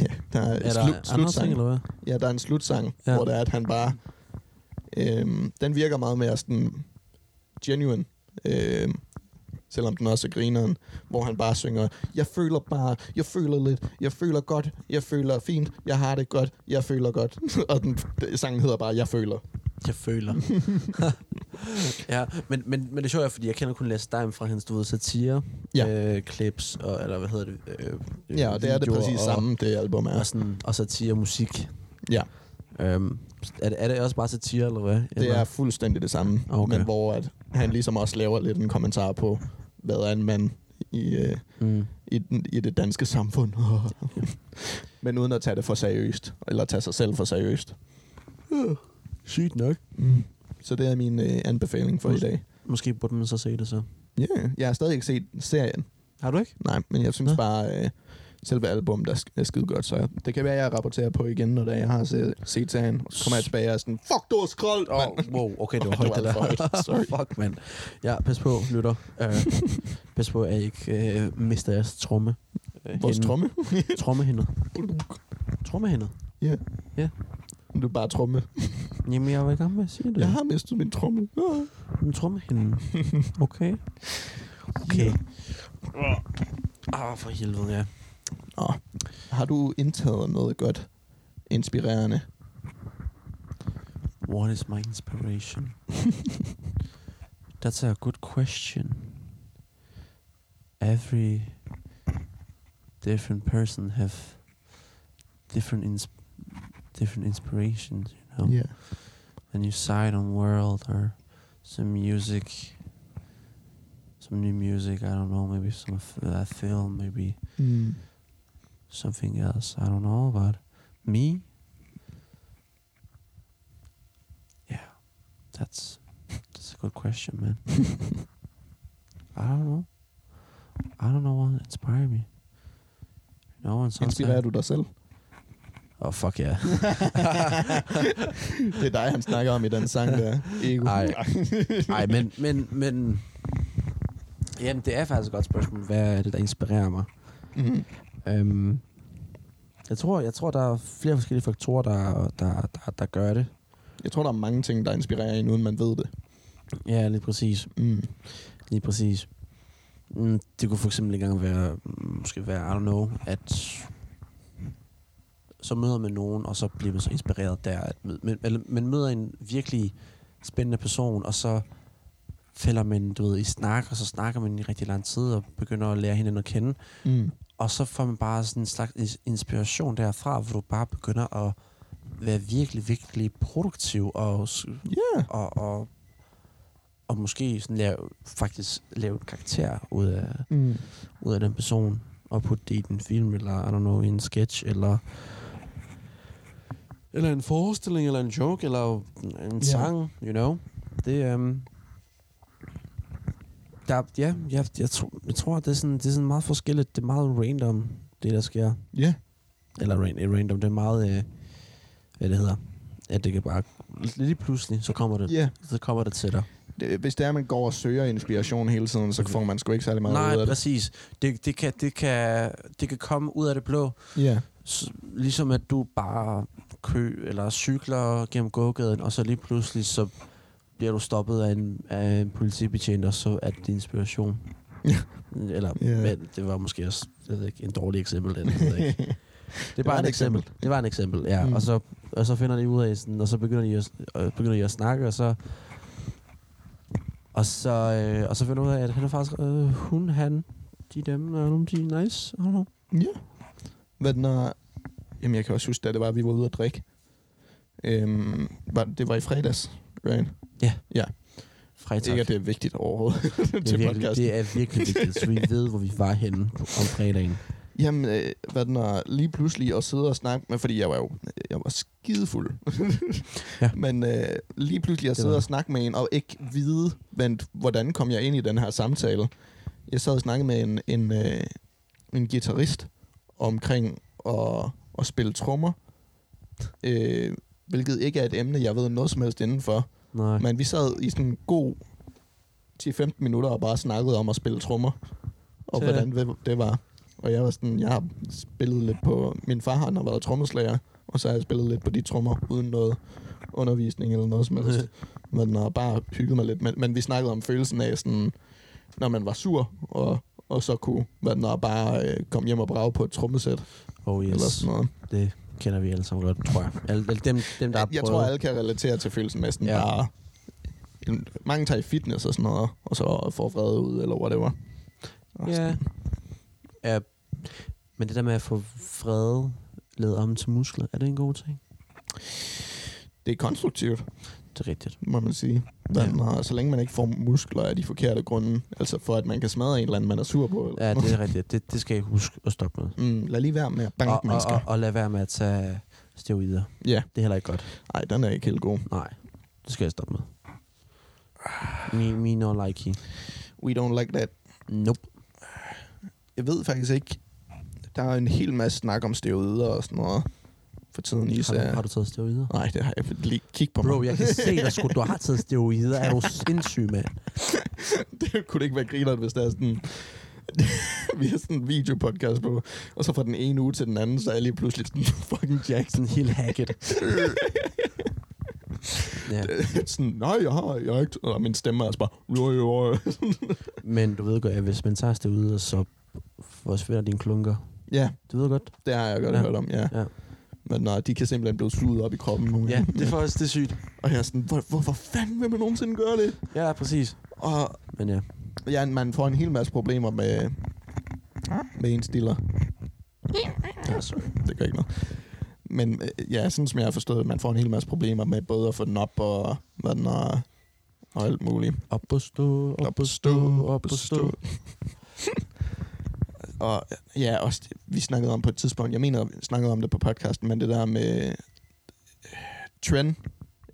[SPEAKER 1] Ja, der er,
[SPEAKER 4] Er
[SPEAKER 1] er
[SPEAKER 4] der
[SPEAKER 1] slu-
[SPEAKER 4] andre ting,
[SPEAKER 1] slutsang.
[SPEAKER 4] eller hvad?
[SPEAKER 1] ja, der er en slutsang,
[SPEAKER 4] Ja.
[SPEAKER 1] ja. hvor det er, at han bare... Øh, den virker meget mere sådan genuine. Øh, selvom den også er grineren, hvor han bare synger, jeg føler bare, jeg føler lidt, jeg føler godt, jeg føler fint, jeg har det godt, jeg føler godt. og den, sangen hedder bare, jeg føler.
[SPEAKER 2] Jeg føler. ja, men, men, men det er sjovt, fordi jeg kender kun Lasse Dime fra hans, du ved, satire,
[SPEAKER 1] Ja.
[SPEAKER 2] øh, clips, og, eller hvad hedder det? Øh, øh,
[SPEAKER 1] Ja, og det er det
[SPEAKER 2] videoer
[SPEAKER 1] præcis
[SPEAKER 2] og,
[SPEAKER 1] samme, det album er.
[SPEAKER 2] Og, sådan, og satire og musik.
[SPEAKER 1] Ja.
[SPEAKER 2] Øhm, er, det, er det også bare satire, eller hvad?
[SPEAKER 1] Det
[SPEAKER 2] eller?
[SPEAKER 1] er fuldstændig det samme,
[SPEAKER 2] Okay.
[SPEAKER 1] okay. men hvor at han ligesom også laver lidt en kommentar på, hvad er en mand i, øh,
[SPEAKER 2] Mm.
[SPEAKER 1] i, den- i det danske samfund. men uden at tage det for seriøst, eller tage sig selv for seriøst.
[SPEAKER 2] Sygt nok.
[SPEAKER 1] Mm. Så det er min øh, anbefaling for i dag.
[SPEAKER 2] Måske burde man så se det så.
[SPEAKER 1] Ja, yeah. jeg har stadig ikke set serien.
[SPEAKER 2] Har du ikke?
[SPEAKER 1] Nej, men jeg synes
[SPEAKER 2] Nå.
[SPEAKER 1] bare, øh, selve albumet er, sk- er skide godt, så jeg- det kan være, jeg rapporterer på igen, når det er, jeg har set, set serien. Så kommer jeg tilbage og er sådan, fuck, du har skroldt,
[SPEAKER 2] Åh,
[SPEAKER 1] mand.
[SPEAKER 2] oh, wow, okay, det
[SPEAKER 1] Åh,
[SPEAKER 2] var
[SPEAKER 1] det
[SPEAKER 2] højt,
[SPEAKER 1] var
[SPEAKER 2] det
[SPEAKER 1] alt for
[SPEAKER 2] der.
[SPEAKER 1] højt. Sorry.
[SPEAKER 2] Fuck, mand. Ja, pas på, lytter. Uh, pas på, at I ikke uh, mister jeres tromme. Uh,
[SPEAKER 1] Vores tromme.
[SPEAKER 2] Trommehændet. Trommehændet.
[SPEAKER 1] Du er bare tromme.
[SPEAKER 4] Jamen, jeg var i gang med at sige det.
[SPEAKER 1] Jeg har mistet min tromme. Ah.
[SPEAKER 4] En trommehinde. Okay. Okay. Ah, for helvede, ja.
[SPEAKER 1] Har du indtaget noget godt inspirerende?
[SPEAKER 4] What is my inspiration? That's a good question. Every different person have different ins- different inspirations, you know. A new side on world or some music, some new music. I don't know. Maybe some f- uh, film. Maybe
[SPEAKER 1] Mm.
[SPEAKER 4] something else. I don't know. But me, yeah, that's that's a good question, man. I don't know. I don't know what inspired me. No one sounds
[SPEAKER 1] Inspirerer du dig selv?
[SPEAKER 2] Oh, fuck ja. Yeah.
[SPEAKER 1] det er dig, han snakker om i den sang der. Ego.
[SPEAKER 2] Ej. Nej, men, men, men... Jamen, det er faktisk et godt spørgsmål. Hvad er det, der inspirerer mig?
[SPEAKER 1] Mm.
[SPEAKER 2] Øhm, jeg, tror, jeg tror, der er flere forskellige faktorer, der, der, der, der gør det.
[SPEAKER 1] Jeg tror, der er mange ting, der inspirerer en, uden man ved det.
[SPEAKER 2] Ja, lige præcis.
[SPEAKER 1] Mm.
[SPEAKER 2] Lige præcis. Mm, Det kunne for eksempel engang være, mm, måske være, I don't know, at så møder man nogen, og så bliver man så inspireret der. At, men, eller, man møder en virkelig spændende person, og så falder man, du ved, i snak, og så snakker man i rigtig lang tid, og begynder at lære hinanden at kende.
[SPEAKER 1] Mm.
[SPEAKER 2] Og så får man bare sådan en slags is- inspiration derfra, hvor du bare begynder at være virkelig, virkelig produktiv og s-
[SPEAKER 1] Yeah.
[SPEAKER 2] og, og, og måske sådan lave, faktisk lave et karakter ud af,
[SPEAKER 1] Mm.
[SPEAKER 2] ud af den person, og putte det i en film, eller I don't know, i en sketch, eller eller en forestilling, eller en joke, eller en yeah. sang, you know. Det, um, der, ja, jeg, jeg, tro, jeg tror, det er, sådan, det er sådan meget forskelligt. Det er meget random, det der sker.
[SPEAKER 1] Yeah.
[SPEAKER 2] Eller ran- random, det er meget, øh, hvad det hedder, at det kan bare, lige pludselig, så kommer det,
[SPEAKER 1] Yeah.
[SPEAKER 2] så kommer det til dig.
[SPEAKER 1] Det, hvis det er, man går og søger inspiration hele tiden, så får man sgu ikke særlig meget
[SPEAKER 2] Nej,
[SPEAKER 1] ud af det.
[SPEAKER 2] præcis. Det, det, kan, det, kan, det kan komme ud af det blå.
[SPEAKER 1] Ja.
[SPEAKER 2] S- ligesom at du bare kø, eller cykler gennem gågaden, og så lige pludselig, så bliver du stoppet af en, af en politibetjent, og så er det din inspiration.
[SPEAKER 1] Ja.
[SPEAKER 2] Eller,
[SPEAKER 1] Ja.
[SPEAKER 2] yeah. men det var måske også jeg ved ikke, en dårlig eksempel. Den, jeg ved ikke. Det er
[SPEAKER 1] var
[SPEAKER 2] bare
[SPEAKER 1] et
[SPEAKER 2] et eksempel. Det var et eksempel, ja.
[SPEAKER 1] Mm.
[SPEAKER 2] Mm. Og, så, og så finder de ud af sådan, og så begynder de at, øh, begynder de at snakke, og så... Og så, øh, og så finder de ud af, at han er faktisk... Øh, hun, han, de dem, og nogle de er nice. I don't know.
[SPEAKER 1] Ja. Hvad den er... Jamen, jeg kan også huske, da det var, at vi var ude at drikke. Øhm, var, det var i fredags, right?
[SPEAKER 2] Fredag.
[SPEAKER 1] Ikke, at det er vigtigt overhovedet
[SPEAKER 2] det, er
[SPEAKER 1] til
[SPEAKER 2] virkelig,
[SPEAKER 1] podcasten.
[SPEAKER 2] det er virkelig vigtigt, så vi ved, hvor vi var henne om fredagen.
[SPEAKER 1] Jamen, øh, hvad den er, lige pludselig at sidde og snakke med, fordi jeg var jo øh, jeg var skidefuld.
[SPEAKER 2] Ja.
[SPEAKER 1] Men øh, lige pludselig at
[SPEAKER 2] var
[SPEAKER 1] sidde og
[SPEAKER 2] det.
[SPEAKER 1] snakke med en, og ikke vide, vent, hvordan kom jeg ind i den her samtale. Jeg sad og snakkede med en, en, øh, en guitarist omkring at, at spille trommer, øh, hvilket ikke er et emne, jeg ved noget som helst indenfor.
[SPEAKER 2] Nej.
[SPEAKER 1] Men vi sad i sådan en god 10-15 minutter og bare snakkede om at spille trommer. Og
[SPEAKER 2] Så-
[SPEAKER 1] hvordan det- det var. Og jeg var sådan, jeg har spillet lidt på... Min far han har været trommeslager, og så har jeg spillet lidt på de trommer uden noget undervisning eller noget som helst. Men har bare hygget mig lidt. Men, men vi snakkede om følelsen af sådan, når man var sur, og, og så kunne man når bare øh, komme hjem og brage på et trommesæt yes.
[SPEAKER 2] Oh
[SPEAKER 1] eller
[SPEAKER 2] yes,
[SPEAKER 1] sådan noget.
[SPEAKER 2] det kender vi alle sammen godt, tror jeg. Alle, alle dem, dem, der har
[SPEAKER 1] Jeg
[SPEAKER 2] prøvet.
[SPEAKER 1] tror, alle kan relatere til følelsen med sådan ja.
[SPEAKER 2] Ja.
[SPEAKER 1] bare... en- Mange tager i fitness og sådan noget, og så får vredet ud, eller whatever. Og
[SPEAKER 2] Ja.
[SPEAKER 1] sådan-
[SPEAKER 2] ja. Men det der med at få fred lavet om til muskler, er det en god ting?
[SPEAKER 1] Det er konstruktivt,
[SPEAKER 2] Det er rigtigt.
[SPEAKER 1] må man sige. Men, ja. så længe man ikke får muskler af de forkerte grunde, altså for at man kan smadre en eller anden, man er sur på. Eller
[SPEAKER 2] Ja,
[SPEAKER 1] sådan
[SPEAKER 2] det er rigtigt. Det, det skal jeg huske at stoppe med.
[SPEAKER 1] noget. Mm, lad lige være med at banke
[SPEAKER 2] Og, og,
[SPEAKER 1] mennesker.
[SPEAKER 2] og, og lad være med at tage steroider.
[SPEAKER 1] Ja.
[SPEAKER 2] Det er heller ikke godt.
[SPEAKER 1] Nej, den er ikke helt god.
[SPEAKER 2] Nej, det skal jeg stoppe med. Me, me no likey.
[SPEAKER 1] We don't like that.
[SPEAKER 2] Nope.
[SPEAKER 1] Jeg ved faktisk ikke, der er en hel masse snak om steroider og sådan noget for tiden især.
[SPEAKER 2] Har du, har du taget steroider?
[SPEAKER 1] Nej, det har jeg lige kig på
[SPEAKER 2] Bro,
[SPEAKER 1] mig.
[SPEAKER 2] jeg kan se dig sgu. Du har taget steroider. Er du sindssyg, mand?
[SPEAKER 1] det kunne det ikke være grineren, hvis der er sådan... vi har sådan en videopodcast på, og så fra den ene uge til den anden, så er jeg lige pludselig sådan fucking Jackson.
[SPEAKER 2] Sådan helt hacket. ja.
[SPEAKER 1] sådan, nej, jeg har, jeg har ikke... Og min stemme er altså bare... Jo, jo, jo.
[SPEAKER 2] Men du ved godt, at hvis man tager steroider, så forsvinder dine klunker.
[SPEAKER 1] ja,
[SPEAKER 2] Du ved godt.
[SPEAKER 1] det har jeg godt ja.
[SPEAKER 2] Ja.
[SPEAKER 1] hørt om, ja. ja.
[SPEAKER 2] Ja.
[SPEAKER 1] Men nej, de kan simpelthen blive suget op i kroppen nogle gange.
[SPEAKER 2] faktisk det er sygt.
[SPEAKER 1] Og jeg er sådan, hvor, hvorfor fanden vil man nogensinde gøre det?
[SPEAKER 2] Ja, præcis.
[SPEAKER 1] Og
[SPEAKER 2] Men ja,
[SPEAKER 1] ja, man får en hel masse problemer med, med ens stiller.
[SPEAKER 2] ja sorry.
[SPEAKER 1] det gør ikke noget. Men øh, ja, sådan som jeg har forstået, man får en hel masse problemer med både at få den op og, hvad den er, og alt muligt.
[SPEAKER 2] Op og stå, op og stå, op og stå.
[SPEAKER 1] og ja, også, det- vi snakkede om på et tidspunkt, jeg mener, vi snakkede om det på podcasten, men det der med øh, trend,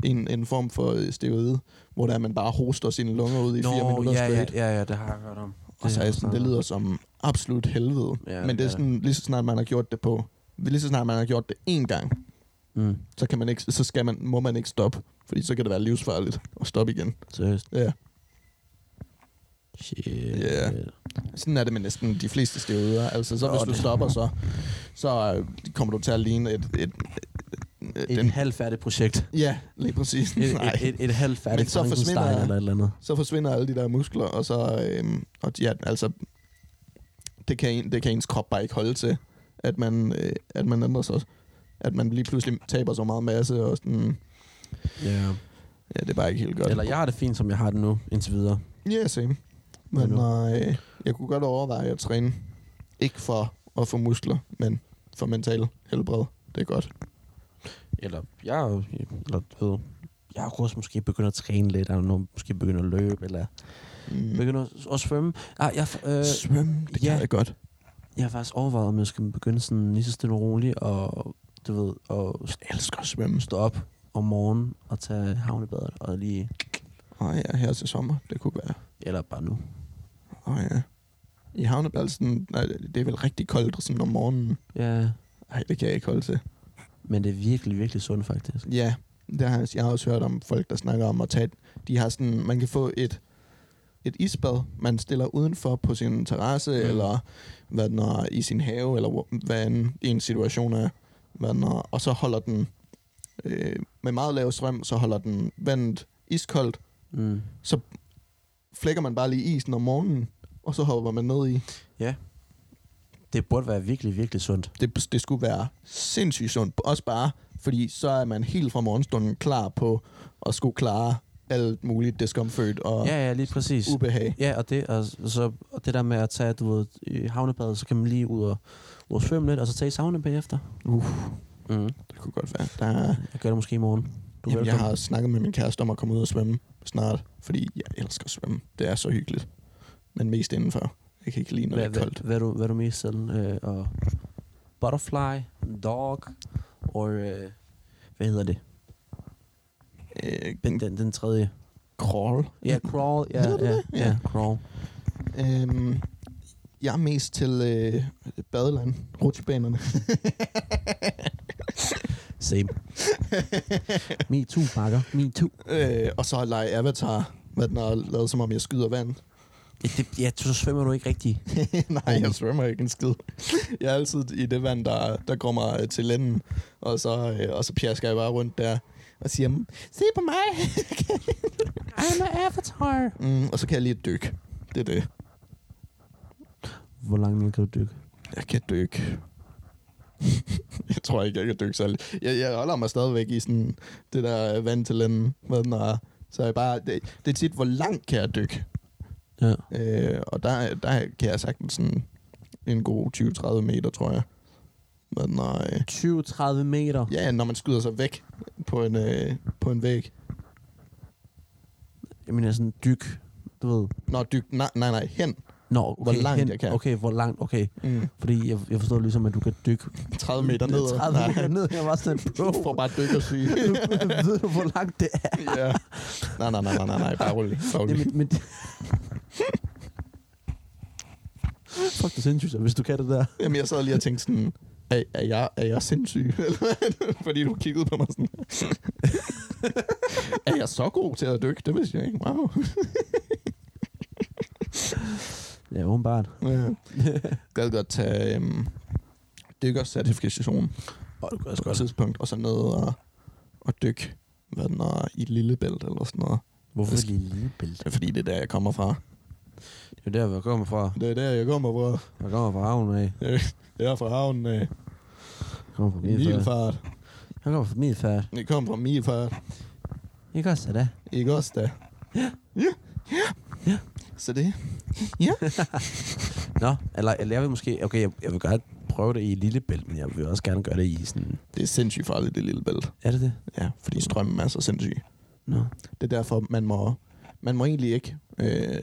[SPEAKER 1] en, en form for øh, steroide, hvor der man bare hoster sine lunger ud i Nå, fire minutter
[SPEAKER 2] ja, ja,
[SPEAKER 1] straight.
[SPEAKER 2] ja, ja, det har jeg hørt om.
[SPEAKER 1] Og så er jeg sådan, det lyder som absolut helvede.
[SPEAKER 2] Ja,
[SPEAKER 1] men det er
[SPEAKER 2] ja.
[SPEAKER 1] sådan, lige så snart man har gjort det på, lige så snart man har gjort det én gang,
[SPEAKER 2] Mm,
[SPEAKER 1] så, kan man ikke, så skal man, må man ikke stoppe, fordi så kan det være livsfarligt at stoppe igen.
[SPEAKER 2] seriøst.
[SPEAKER 1] Ja.
[SPEAKER 2] Shit.
[SPEAKER 1] Ja. Sådan er det med næsten de fleste steroider. Altså, så
[SPEAKER 2] Nå,
[SPEAKER 1] hvis du
[SPEAKER 2] det-
[SPEAKER 1] stopper, så, så øh, kommer du til at ligne et... et, et, et
[SPEAKER 2] Et halvfærdigt projekt.
[SPEAKER 1] ja, lige præcis.
[SPEAKER 2] Et,
[SPEAKER 1] Nej.
[SPEAKER 2] et, et, et
[SPEAKER 1] Men
[SPEAKER 2] halvfærdigt
[SPEAKER 1] så forsvinder-
[SPEAKER 2] Frankenstein eller et eller andet.
[SPEAKER 1] Så forsvinder alle de der muskler, og så... Øh, og de, ja, altså, det kan, en, det kan ens krop bare ikke holde til, at man, øh, at man ændrer sig. At man lige pludselig taber så meget masse, og sådan...
[SPEAKER 2] Ja.
[SPEAKER 1] Ja, det er bare ikke helt godt.
[SPEAKER 2] Eller jeg har det fint, som jeg har det nu, indtil videre.
[SPEAKER 1] Ja, yeah, same. Men
[SPEAKER 2] Men nu-
[SPEAKER 1] nej, jeg kunne godt overveje at træne. Ikke for at få muskler, men for mental helbred. Det er godt.
[SPEAKER 2] Eller jeg, er jo- eller, du ved, jeg kunne også måske begynde at træne lidt, eller nu måske begynde at løbe, eller
[SPEAKER 1] Mm.
[SPEAKER 2] begynde at, at svømme. Ah, jeg, øh,
[SPEAKER 1] Svømme, det ja.
[SPEAKER 2] ja.
[SPEAKER 1] kan jeg godt.
[SPEAKER 2] jeg har faktisk overvejet, om jeg skal begynde sådan lige så stille og roligt, og du ved, og
[SPEAKER 1] Jeg elsker at svømme.
[SPEAKER 2] stå op om morgenen og tage havnebadet, og lige,
[SPEAKER 1] Åh oh, ja, her til sommer, det kunne være.
[SPEAKER 2] eller bare nu.
[SPEAKER 1] Åh oh, ja. I havnebalsen, nej, det er vel rigtig koldt sådan om morgenen.
[SPEAKER 2] Ja,
[SPEAKER 1] Nej, det kan jeg ikke holde til.
[SPEAKER 2] men det er virkelig, virkelig sundt faktisk.
[SPEAKER 1] Ja, det har jeg, jeg har også hørt om folk, der snakker om at tage... De har sådan, man kan få et, et isbad, man stiller udenfor på sin terrasse, mm.
[SPEAKER 2] Mm.
[SPEAKER 1] eller hvad den er, i sin have, eller hvor- hvad en, en situation er. Hvad den er, og så holder den øh, med meget lav strøm, så holder den vandet iskoldt.
[SPEAKER 2] Mm.
[SPEAKER 1] Så flækker man bare lige isen om morgenen, og så hopper man ned i.
[SPEAKER 2] Det burde være virkelig, virkelig sundt.
[SPEAKER 1] Det, det skulle være sindssygt sundt. Også bare, fordi så er man helt fra morgenstunden klar på at skulle klare alt muligt discomfort og
[SPEAKER 2] Ja, ja, lige præcis.
[SPEAKER 1] ubehag.
[SPEAKER 2] Ja, og det, og, så, og det der med at tage, du ved, i havnebadet, så kan man lige ud og, ud og svømme lidt, og så tage i sauna bagefter.
[SPEAKER 1] Uff.
[SPEAKER 2] Mm.
[SPEAKER 1] Det kunne godt være. Der er,
[SPEAKER 2] Jeg gør det måske i morgen. Du
[SPEAKER 1] jamen,
[SPEAKER 2] er
[SPEAKER 1] jeg
[SPEAKER 2] velkommen.
[SPEAKER 1] har snakket med min kæreste om at komme ud og svømme snart, fordi jeg elsker at svømme. Det er så hyggeligt. Men mest indenfor. Jeg kan ikke lide, når det
[SPEAKER 2] Hvad,
[SPEAKER 1] er koldt.
[SPEAKER 2] hvad, hvad, er du, hvad er du mest sådan? Øh, og butterfly, dog, og øh, hvad hedder det? Den,
[SPEAKER 1] Øh,
[SPEAKER 2] den, den tredje.
[SPEAKER 1] crawl.
[SPEAKER 2] Ja, crawl. Ja,
[SPEAKER 1] Hedder det
[SPEAKER 2] ja, ja,
[SPEAKER 1] det? Ja.
[SPEAKER 2] ja, crawl.
[SPEAKER 1] Øhm, jeg er mest til øh, badeland, rutsjebanerne.
[SPEAKER 2] Same. Me too, pakker. Me too.
[SPEAKER 1] øh, og så at lege avatar, hvad den har lavet, som om jeg skyder vand.
[SPEAKER 2] Ja, det, ja, så svømmer du ikke rigtigt.
[SPEAKER 1] Nej, jeg svømmer ikke en skid. Jeg er altid i det vand, der, der kommer øh, til lænden, og så, øh, og så pjasker jeg bare rundt der og siger, "Mm, se på mig.
[SPEAKER 2] I'm an avatar.
[SPEAKER 1] mm, og så kan jeg lige dykke. Det er det.
[SPEAKER 2] Hvor langt ned kan du dykke?
[SPEAKER 1] Jeg kan dykke. jeg tror ikke, jeg kan dykke særlig. Jeg, jeg holder mig stadigvæk i sådan det der øh, vand til lænden. Hvad den er. Så jeg bare, det, det er tit, hvor langt kan jeg dykke.
[SPEAKER 2] Ja.
[SPEAKER 1] Øh, og der, der kan jeg sagtens sådan en god 20-30 meter, tror jeg. Men nej.
[SPEAKER 2] 20-30 meter.
[SPEAKER 1] Ja, når man skyder sig væk på en, øh, på en væg.
[SPEAKER 2] Jeg mener sådan dyk, du ved.
[SPEAKER 1] Nå, dyk, nej, nej, nej, hen.
[SPEAKER 2] Nå, okay,
[SPEAKER 1] Hvor langt jeg kan.
[SPEAKER 2] Okay, hvor langt, okay.
[SPEAKER 1] Mm.
[SPEAKER 2] Fordi jeg, jeg forstår ligesom, at du kan dykke
[SPEAKER 1] 30 meter ned.
[SPEAKER 2] 30 meter ned. Jeg var sådan, bro,
[SPEAKER 1] Du får bare dykkersyge.
[SPEAKER 2] ved du, hvor langt det er?
[SPEAKER 1] ja. Nej, nej, nej, nej, nej, nej, bare rolig. Bare
[SPEAKER 2] Det er
[SPEAKER 1] rolig.
[SPEAKER 2] mit, mit... Fuck, det er sindssygt, så hvis du kan det der.
[SPEAKER 1] Jamen, jeg sad lige og tænkte sådan, er, er, jeg, er jeg sindssyg? Eller hvad? Fordi du kiggede på mig sådan. er jeg så god til at dykke? Det vidste jeg ikke. Wow.
[SPEAKER 2] Ja, åbenbart.
[SPEAKER 1] Ja. Gad godt tage øhm, dykkercertifikation
[SPEAKER 2] Og du kan
[SPEAKER 1] på et tidspunkt, og så ned og, og dykke hvad den er, i Lillebælt eller sådan noget.
[SPEAKER 2] Hvorfor
[SPEAKER 1] Det
[SPEAKER 2] det lille bælte?
[SPEAKER 1] Det er fordi, det er der, jeg kommer fra.
[SPEAKER 2] Det er der, hvor jeg kommer fra.
[SPEAKER 1] Det er der, jeg kommer fra.
[SPEAKER 2] Jeg kommer fra havnen af.
[SPEAKER 1] Jeg er fra havnen øh, af.
[SPEAKER 2] Jeg kommer fra Middelfart.
[SPEAKER 1] Milfart.
[SPEAKER 2] Jeg kommer fra Middelfart.
[SPEAKER 1] Jeg kommer fra Milfart.
[SPEAKER 2] Ikke også, da?
[SPEAKER 1] Ikke også da? Ja. Ja.
[SPEAKER 2] Ja.
[SPEAKER 1] Så det.
[SPEAKER 2] Nå, eller, eller jeg vil måske... Okay, jeg, jeg vil godt prøve det i Lillebælt, men jeg vil også gerne gøre det i sådan...
[SPEAKER 1] Det er sindssygt farligt, det lille bælte.
[SPEAKER 2] Er det det?
[SPEAKER 1] Ja, fordi strømmen er så sindssyg.
[SPEAKER 2] Nå.
[SPEAKER 1] Det er derfor, man må, man må egentlig ikke øh,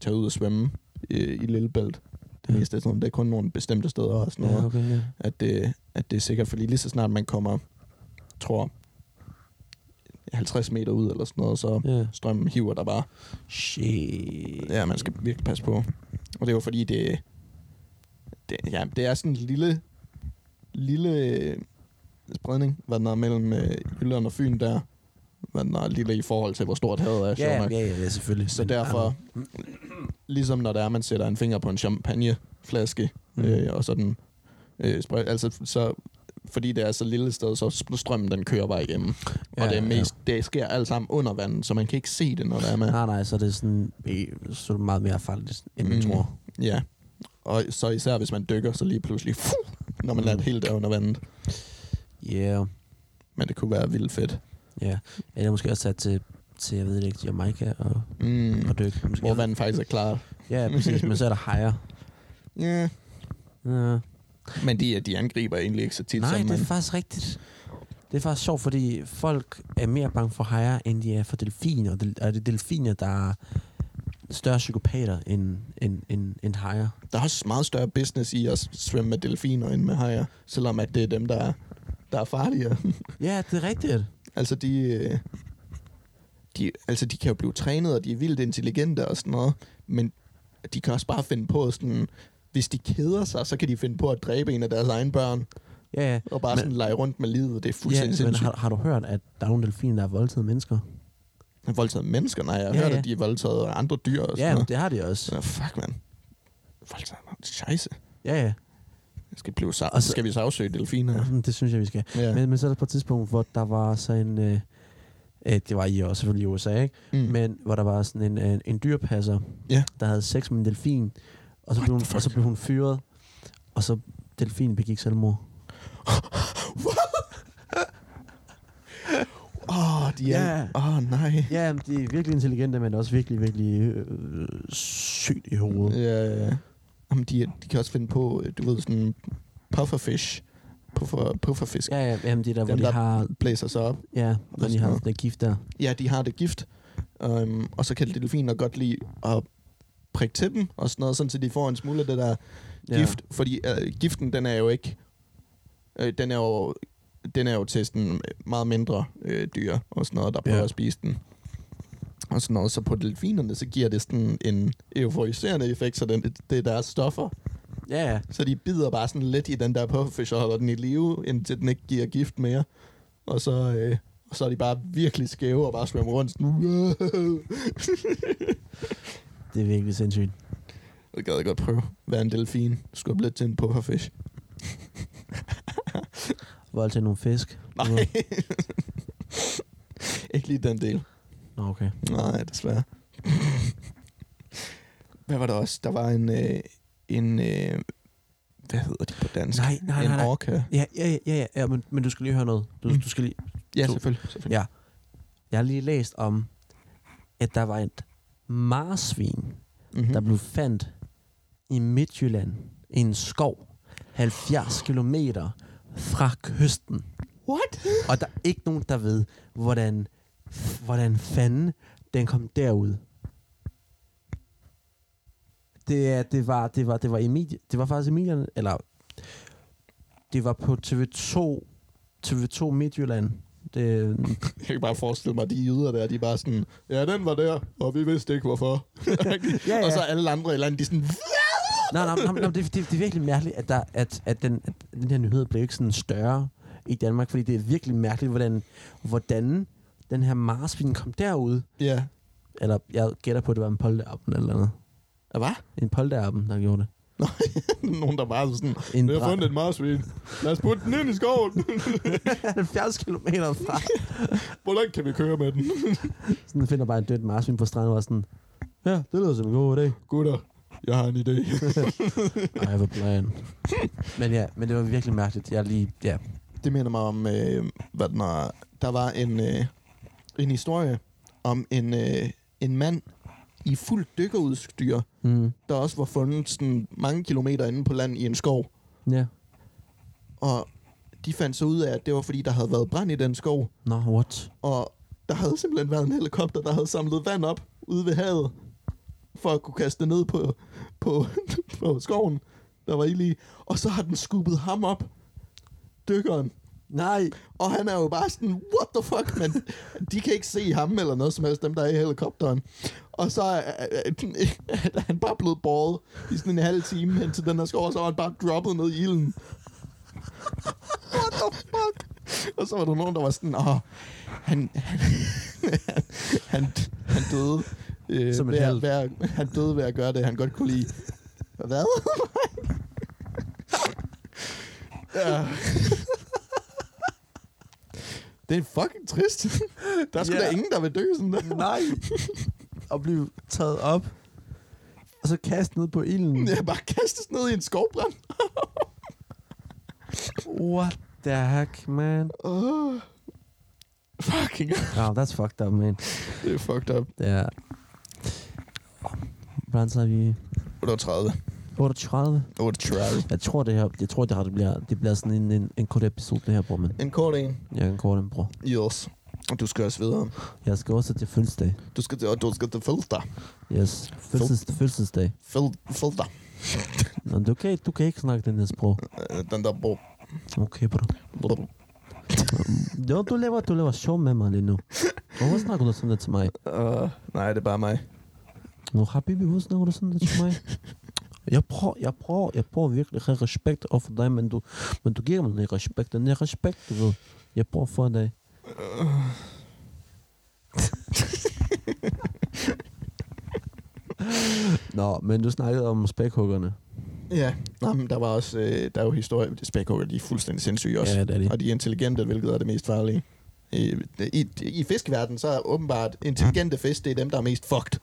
[SPEAKER 1] tage ud og svømme øh, i lille bælte. Det
[SPEAKER 2] Ja.
[SPEAKER 1] meste af tiden. Det er kun nogle bestemte steder og sådan noget.
[SPEAKER 2] Ja, okay, ja.
[SPEAKER 1] at det, at det er sikkert, fordi lige så snart man kommer, tror 50 meter ud eller sådan noget, så
[SPEAKER 2] ja.
[SPEAKER 1] strømmen hiver der bare.
[SPEAKER 2] Shit.
[SPEAKER 1] Ja, man skal virkelig passe på. Og det var fordi, det, det, ja, det er sådan en lille, lille øh, spredning, hvad den er mellem øh, Jylland og Fyn der. Hvad den er lille i forhold til, hvor stort havet er. sjovt
[SPEAKER 2] Ja,
[SPEAKER 1] nok.
[SPEAKER 2] ja, ja, ja, selvfølgelig. Ah,
[SPEAKER 1] Så
[SPEAKER 2] Men-
[SPEAKER 1] derfor, ligesom når der er, man sætter en finger på en champagneflaske,
[SPEAKER 2] Mm.
[SPEAKER 1] mm. øh, og sådan, øh, spred, altså, så, fordi det er så lille et sted, så sp- strømmen den kører bare igennem. Ja,
[SPEAKER 2] Ja,
[SPEAKER 1] og det, er
[SPEAKER 2] ja.
[SPEAKER 1] mest, ja. det sker alt sammen under vandet, så man kan ikke se det, når der er med.
[SPEAKER 2] Nej, nej, så er det sådan, øh, så er det meget mere farligt, end man
[SPEAKER 1] Mm.
[SPEAKER 2] tror.
[SPEAKER 1] Ja. Og så især hvis man dykker, så lige pludselig, fuh, når man
[SPEAKER 2] Mm.
[SPEAKER 1] er helt der under vandet.
[SPEAKER 2] Ja, yeah.
[SPEAKER 1] Men det kunne være vildt fedt.
[SPEAKER 2] ja. Eller måske også tage til, til jeg ved det ikke, Jamaica og,
[SPEAKER 1] Mm.
[SPEAKER 2] og dykke. Måske
[SPEAKER 1] Hvor vandet faktisk er klart.
[SPEAKER 2] Ja, præcis, men så er der hajer.
[SPEAKER 1] Ja.
[SPEAKER 2] Ja.
[SPEAKER 1] Men de, de angriber egentlig ikke så tit,
[SPEAKER 2] Nej,
[SPEAKER 1] som
[SPEAKER 2] det
[SPEAKER 1] man...
[SPEAKER 2] er faktisk rigtigt. Det er faktisk sjovt, fordi folk er mere bange for hajer, end de er for delfiner. Og del- Og det er delfiner, der er større psykopater end, end, end, end hajer.
[SPEAKER 1] der er også meget større business i at svømme med delfiner end med hajer, selvom at det er dem, der er, der er farligere.
[SPEAKER 2] Ja, det er rigtigt.
[SPEAKER 1] altså, de, øh, de, altså, de kan jo blive trænet, og de er vildt intelligente og sådan noget, men de kan også bare finde på sådan... Hvis de keder sig, så kan de finde på at dræbe en af deres egne børn,
[SPEAKER 2] Ja, ja.
[SPEAKER 1] og bare
[SPEAKER 2] Men-
[SPEAKER 1] men, sådan lege rundt med livet. Det er
[SPEAKER 2] ja
[SPEAKER 1] fuldstændig ja,
[SPEAKER 2] men
[SPEAKER 1] sindssygt.
[SPEAKER 2] har, har du hørt, at der er nogle delfiner, der har voldtaget mennesker?
[SPEAKER 1] Har... Voldtaget mennesker? Nej, jeg har
[SPEAKER 2] Ja,
[SPEAKER 1] ja, hørt,
[SPEAKER 2] ja.
[SPEAKER 1] at de er voldtaget af andre dyr og sådan
[SPEAKER 2] Ja, men
[SPEAKER 1] noget.
[SPEAKER 2] det har de også.
[SPEAKER 1] Så, fuck, mand. Voldtaget? Scheisse.
[SPEAKER 2] Ja, ja.
[SPEAKER 1] Skal, blive sa-
[SPEAKER 2] Og så-
[SPEAKER 1] skal vi sagsøge delfiner?
[SPEAKER 2] Mm, Det synes jeg, vi skal.
[SPEAKER 1] Ja.
[SPEAKER 2] Men, men så er der på et tidspunkt, hvor der var så en... Øh, øh, det var i også selvfølgelig i USA, ikke?
[SPEAKER 1] mm.
[SPEAKER 2] Men hvor der var sådan en, øh, en dyrpasser,
[SPEAKER 1] Ja.
[SPEAKER 2] der havde sex med en delfin, og så, blev hun, og så blev hun fyret, og så delfinen begik selvmord.
[SPEAKER 1] Åh, oh, de er... Åh,
[SPEAKER 2] Ja.
[SPEAKER 1] yeah. oh, nej.
[SPEAKER 2] Ja, men de er virkelig intelligente, men også virkelig, virkelig øh, sygt i hovedet.
[SPEAKER 1] Ja, ja, ja. Jamen, de, er- de kan også finde på, øh, du ved, sådan pufferfish. Puffer, pufferfisk ja.
[SPEAKER 2] Ja, ja, jamen det er der, hvor
[SPEAKER 1] Dem,
[SPEAKER 2] de
[SPEAKER 1] der-
[SPEAKER 2] har,
[SPEAKER 1] blæser sig op.
[SPEAKER 2] ja, hvor de
[SPEAKER 1] sådan
[SPEAKER 2] har
[SPEAKER 1] noget.
[SPEAKER 2] den der gift der.
[SPEAKER 1] Ja, de har det gift. Um, og så kan delfiner godt lide at prikke til dem og sådan noget, sådan så de får en smule af det der
[SPEAKER 2] Ja.
[SPEAKER 1] gift. Fordi uh, giften, den er jo ikke... Øh, den er jo den er jo til sådan meget mindre øh, dyr og sådan noget, der prøver
[SPEAKER 5] Ja.
[SPEAKER 1] at spise den. Og sådan noget. Så på delfinerne, så giver det sådan en euforiserende effekt, så den, det er deres stoffer.
[SPEAKER 2] Ja, ja.
[SPEAKER 1] Så de bider bare sådan lidt i den der pufferfish og holder den i live, indtil den ikke giver gift mere. Og så, øh, og så er de bare virkelig skæve og bare svømmer rundt. Sådan, wow.
[SPEAKER 2] Det er virkelig sindssygt.
[SPEAKER 1] det gad jeg godt prøve. Være en delfin. Skubbe lidt til en pufferfish.
[SPEAKER 2] Vold til nogle fisk.
[SPEAKER 1] Nej. ikke lige den del.
[SPEAKER 2] Nå, okay.
[SPEAKER 1] Nej, desværre. Hvad var der også? Der var en... Øh, en øh, hvad hedder de på dansk?
[SPEAKER 2] Nej, nej,
[SPEAKER 1] en
[SPEAKER 2] nej, nej.
[SPEAKER 1] orca.
[SPEAKER 2] Ja, ja, ja, ja, ja men, men du skal lige høre noget. Du,
[SPEAKER 1] Mm.
[SPEAKER 2] du skal lige,
[SPEAKER 1] Ja,
[SPEAKER 2] Du-
[SPEAKER 1] selvfølgelig. selvfølgelig.
[SPEAKER 2] Ja. Jeg har lige læst om, at der var et marsvin, mm.
[SPEAKER 1] Mm-hmm.
[SPEAKER 2] der blev fandt i Midtjylland i en skov 70 kilometer fra kysten.
[SPEAKER 1] What?
[SPEAKER 2] Og der er ikke nogen, der ved, hvordan, hvordan fanden den kom derud. Det, er- det, var, det, var, det, var Emilie, det var faktisk Emilien, eller det var på TV2, TV2 Midtjylland. Det,
[SPEAKER 1] Jeg kan bare forestille mig, at de jyder der, de er bare sådan, ja, den var der, og vi vidste ikke, hvorfor.
[SPEAKER 2] Ja,
[SPEAKER 1] ja,
[SPEAKER 2] ja.
[SPEAKER 1] ja. Og så alle andre i landet, de er sådan,
[SPEAKER 2] Nej, nej, nej, nej det, det, det er virkelig mærkeligt, at, der, at, at, den, at den her nyhed blev ikke sådan større i Danmark, fordi det er virkelig mærkeligt, hvordan, hvordan den her marsvin kom derud.
[SPEAKER 1] ja.
[SPEAKER 2] Eller jeg gætter på, at det var en polterappen eller noget.
[SPEAKER 1] Hvad?
[SPEAKER 2] En polterappen, der gjorde det.
[SPEAKER 1] Nogen, der bare er sådan,
[SPEAKER 2] En
[SPEAKER 1] vi har
[SPEAKER 2] dra-
[SPEAKER 1] fundet et marsvin. Lad os putte den ind i skoven.
[SPEAKER 2] 70 km fra.
[SPEAKER 1] Hvor langt kan vi køre med den?
[SPEAKER 2] Sådan finder bare en dødt marsvin på stranden og var sådan, ja, det lyder som en god idé.
[SPEAKER 1] Gutter, jeg har en idé.
[SPEAKER 2] I have a plan. men ja, men det var virkelig mærkeligt. Jeg lige, ja.
[SPEAKER 1] Det minder mig om, øh, hvad den er. der var en, øh, en historie om en, øh, en mand i fuld dykkerudstyr,
[SPEAKER 2] Mm,
[SPEAKER 1] der også var fundet sådan mange kilometer inde på land i en skov.
[SPEAKER 2] ja.
[SPEAKER 1] Og de fandt så ud af, at det var fordi, der havde været brand i den skov.
[SPEAKER 2] Nå, no, what?
[SPEAKER 1] Og der havde simpelthen været en helikopter, der havde samlet vand op ude ved havet, for at kunne kaste det ned på, på, på skoven, der var ild i. Og så har den skubbet ham op, dykkeren.
[SPEAKER 2] Nej.
[SPEAKER 1] Og han er jo bare sådan, what the fuck, men de kan ikke se ham eller noget som helst, dem der er i helikopteren. Og så er, er, er- er han bare blevet båret i sådan en halv time hen til den her skov, og så var han bare droppet ned i ilden. what the fuck? Og så var der nogen, der var sådan, åh, han, han, han, han døde. Øh,
[SPEAKER 2] Som et
[SPEAKER 1] ved,
[SPEAKER 2] held.
[SPEAKER 1] at, ved at, han døde ved at gøre det, han godt kunne lide. Hvad? ja. Det er fucking trist. Der er sgu
[SPEAKER 2] Ja.
[SPEAKER 1] yeah. da ingen, der vil dø sådan der.
[SPEAKER 2] Nej. Og blive taget op. Og så kastet ned på ilden.
[SPEAKER 1] Jeg bare kastes ned i en skovbrand.
[SPEAKER 2] What the heck, man?
[SPEAKER 1] Oh. Fucking,
[SPEAKER 2] Oh, that's fucked up, man.
[SPEAKER 1] det er fucked up.
[SPEAKER 2] Det er... Hvordan så er vi?
[SPEAKER 1] 38.
[SPEAKER 2] 38?
[SPEAKER 1] 38.
[SPEAKER 2] Jeg tror, det her, jeg tror, det her det bliver, det bliver sådan en, en, en kort episode, det her, bror, men
[SPEAKER 1] En kort en.
[SPEAKER 2] jeg kan kort en, bror.
[SPEAKER 1] Yes. Og du skal også videre.
[SPEAKER 2] Jeg skal også til fødselsdag.
[SPEAKER 1] Du skal til, og du skal til Filter.
[SPEAKER 2] Yes, fødsels, fødselsdag.
[SPEAKER 1] Fil- Filter.
[SPEAKER 2] Nå, du kan, du kan ikke snakke den her sprog.
[SPEAKER 1] Øh, Den der bro.
[SPEAKER 2] Okay, bror.
[SPEAKER 1] bro-
[SPEAKER 2] Jo, du laver, du laver sjov med mig lige nu. Hvorfor snakker du sådan der til mig?
[SPEAKER 1] Øh, nej, det er bare mig.
[SPEAKER 2] Nu Habibi, hvorfor snakker du sådan der til mig? Jeg prøver, jeg prøver, jeg prøver virkelig at have respekt over for dig, men du, men du giver mig den respekt, den er respekt, du ved. Jeg prøver for dig. Nå, men du snakkede om spækhuggerne.
[SPEAKER 1] Ja, nej, men der var også, øh, der er jo historie, det spækhugger, de er fuldstændig sindssyge også.
[SPEAKER 5] Ja, det er de.
[SPEAKER 1] Og de er intelligente, hvilket er det mest farlige. I, i, i fiskeverdenen, så er åbenbart intelligente fisk, det er dem, der er mest fucked.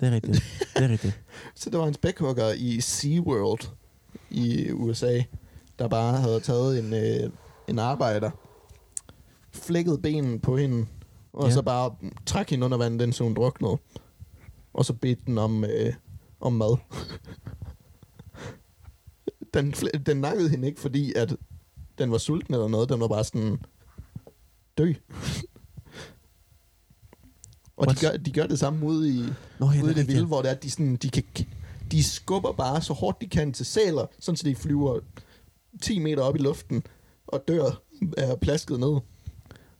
[SPEAKER 2] Det er rigtigt. Det er rigtigt.
[SPEAKER 1] Så der var en spækhugger i SeaWorld i USA, der bare havde taget en, øh, en arbejder, flækket benen på hende, og
[SPEAKER 2] Ja.
[SPEAKER 1] ja. så bare trak hende under vandet, den så hun druknede. Og så bedte den om, øh, om mad. den, fl- den nakkede hende ikke, fordi at den var sulten eller noget. Den var bare sådan, dø. og de
[SPEAKER 2] What?
[SPEAKER 1] gør, de gør det samme ude i,
[SPEAKER 2] Nå, ja,
[SPEAKER 1] ude i det
[SPEAKER 2] rigtigt.
[SPEAKER 1] vilde, hvor det er, at de, sådan, de, kan, de skubber bare så hårdt de kan til sæler, sådan så de flyver 10 meter op i luften og dør er plasket ned.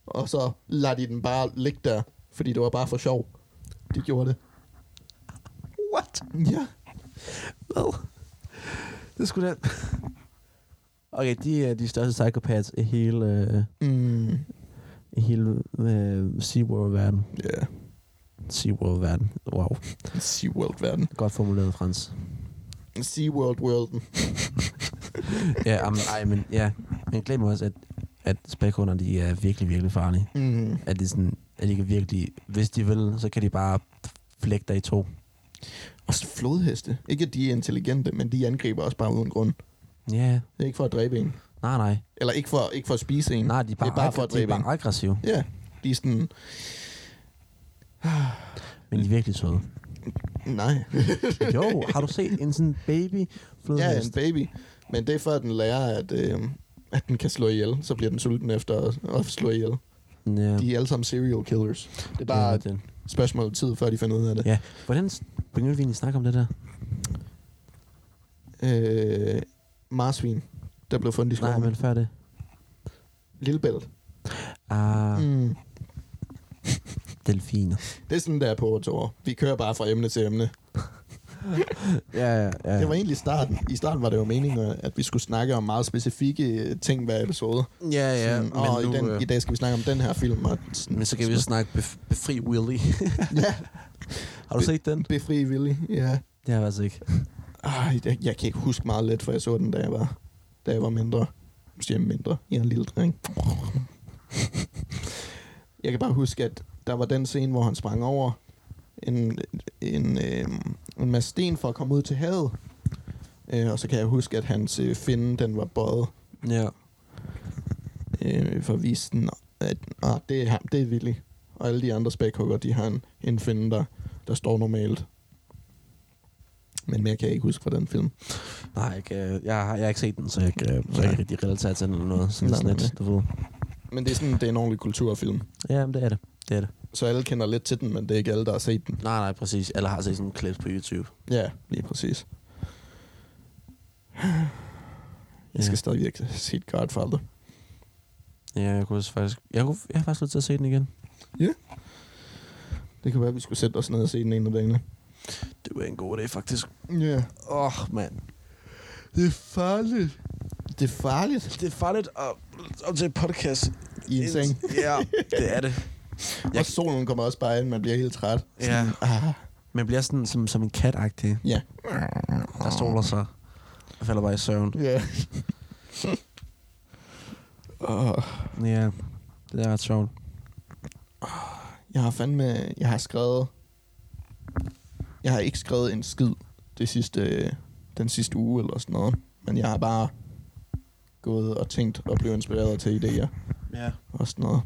[SPEAKER 1] Og så lader de den bare ligge der, fordi det var bare for sjov. De gjorde det.
[SPEAKER 5] What?
[SPEAKER 1] Ja.
[SPEAKER 5] Hvad? Det skulle da...
[SPEAKER 2] Okay, de er de største psykopater i hele, øh,
[SPEAKER 1] Mm.
[SPEAKER 2] i hele øh, SeaWorld-verden.
[SPEAKER 1] Ja.
[SPEAKER 2] SeaWorld-verden. Wow.
[SPEAKER 1] SeaWorld-verden.
[SPEAKER 2] Godt formuleret, Frans.
[SPEAKER 1] SeaWorld-worlden.
[SPEAKER 2] ja, um, ej, men ja. Men glem også, at, at spækhunder, de er virkelig, virkelig farlige.
[SPEAKER 1] Mm.
[SPEAKER 2] At de, sådan, at de kan virkelig, hvis de vil, så kan de bare flække dig i to.
[SPEAKER 1] Og så flodheste. Ikke at de er intelligente, men de angriber også bare uden grund.
[SPEAKER 2] Ja, yeah.
[SPEAKER 1] Det er ikke for at dræbe en.
[SPEAKER 2] nej, nej.
[SPEAKER 1] Eller ikke for, ikke for at spise en.
[SPEAKER 2] Nej, de er bare,
[SPEAKER 1] det er bare for at
[SPEAKER 2] de er
[SPEAKER 1] dræbe en.
[SPEAKER 2] bare aggressive,
[SPEAKER 1] Ja, de er sådan,
[SPEAKER 2] men de er virkelig søde.
[SPEAKER 1] nej.
[SPEAKER 2] Jo, har du set en sådan baby
[SPEAKER 1] Ja,
[SPEAKER 2] flodhest?
[SPEAKER 1] en baby. Men det er for, at den lærer, at, øh, at den kan slå ihjel. Så bliver den sulten efter at, at slå ihjel.
[SPEAKER 2] ja,
[SPEAKER 1] De er alle sammen serial killers. Det er
[SPEAKER 2] ja,
[SPEAKER 1] bare et
[SPEAKER 2] den.
[SPEAKER 1] spørgsmål om tid, før de finder ud af det.
[SPEAKER 2] Ja. Hvordan s- begyndte vi egentlig at snakke om det der?
[SPEAKER 1] Øh, marsvin, der blev fundet i
[SPEAKER 2] Nej,
[SPEAKER 1] skoven.
[SPEAKER 2] men før det.
[SPEAKER 1] Lillebælt.
[SPEAKER 2] Ah, mm.
[SPEAKER 1] Mm.
[SPEAKER 2] delfiner.
[SPEAKER 1] Det er sådan, der er på år. Vi kører bare fra emne til emne.
[SPEAKER 2] Ja, ja, ja.
[SPEAKER 1] Det var egentlig starten. I starten var det jo meningen, øh, at vi skulle snakke om meget specifikke øh, ting hver episode.
[SPEAKER 5] Ja, ja.
[SPEAKER 1] sådan, og i,
[SPEAKER 2] øh,
[SPEAKER 1] den, i dag skal vi snakke om den her film. Og sådan,
[SPEAKER 5] men så kan vi jo snakke bef- Befri Willy.
[SPEAKER 1] ja,
[SPEAKER 2] Har du set den?
[SPEAKER 1] befri Willy. Ja.
[SPEAKER 2] Det har jeg altså ikke.
[SPEAKER 1] Ej, jeg, jeg kan ikke huske meget lidt, for jeg så den, da jeg var, da jeg var mindre. Nu siger jeg mindre. Jeg er en lille dreng. Jeg kan bare huske, at der var den scene, hvor han sprang over en, en, øh, en masse sten for at komme ud til havet. Øh, og så kan jeg huske, at hans øh, finde, den var bøjet
[SPEAKER 5] ja.
[SPEAKER 1] øh, for at vise den, at ah, det er ham, det er Willy. Og alle de andre spækhugger, de har en, en finde, der, der står normalt. Men mere kan jeg ikke huske fra den film.
[SPEAKER 2] Nej, jeg, kan- jeg, har, jeg har ikke set den, så jeg, kan- så jeg
[SPEAKER 1] Nej.
[SPEAKER 2] kan rigtig relatere til den eller noget. Sådan
[SPEAKER 1] Nej,
[SPEAKER 2] sådan
[SPEAKER 1] nej,
[SPEAKER 2] lidt, du ved.
[SPEAKER 1] Men det er sådan, det er en ordentlig kulturfilm.
[SPEAKER 2] Ja, men det er det. Det er det.
[SPEAKER 1] Så alle kender lidt til den, men det er ikke alle, der har set den.
[SPEAKER 5] Nej, nej, præcis. Eller har set sådan en klip på YouTube.
[SPEAKER 1] Ja, lige præcis. Jeg skal
[SPEAKER 5] Ja.
[SPEAKER 1] ja. stadig ikke se Godfather.
[SPEAKER 5] Ja, jeg kunne også faktisk... Jeg, kunne, jeg har faktisk lyst til at se den igen.
[SPEAKER 1] Det kan være, at vi skulle sætte os ned og se den ene af dagene.
[SPEAKER 5] Det var en god dag, faktisk.
[SPEAKER 1] Ja.
[SPEAKER 5] Åh, oh, mand.
[SPEAKER 1] Det er farligt. Det er farligt
[SPEAKER 5] Det er farligt at, at til podcast.
[SPEAKER 1] i en seng.
[SPEAKER 5] Ja, det er det.
[SPEAKER 1] Jeg... Og solen kommer også bare ind, man bliver helt træt.
[SPEAKER 5] Ja.
[SPEAKER 1] Ah,
[SPEAKER 5] Man bliver sådan som, som en kat-agtig.
[SPEAKER 1] ja.
[SPEAKER 5] Der soler sig og falder bare i søvn.
[SPEAKER 1] Ja. Åh,
[SPEAKER 5] Ja, det er ret sjovt.
[SPEAKER 1] jeg har fandme... Jeg har skrevet... Jeg har ikke skrevet en skid det sidste, den sidste uge eller sådan noget. Men jeg har bare gået og tænkt og blevet inspireret til idéer
[SPEAKER 5] Ja.
[SPEAKER 1] og sådan noget.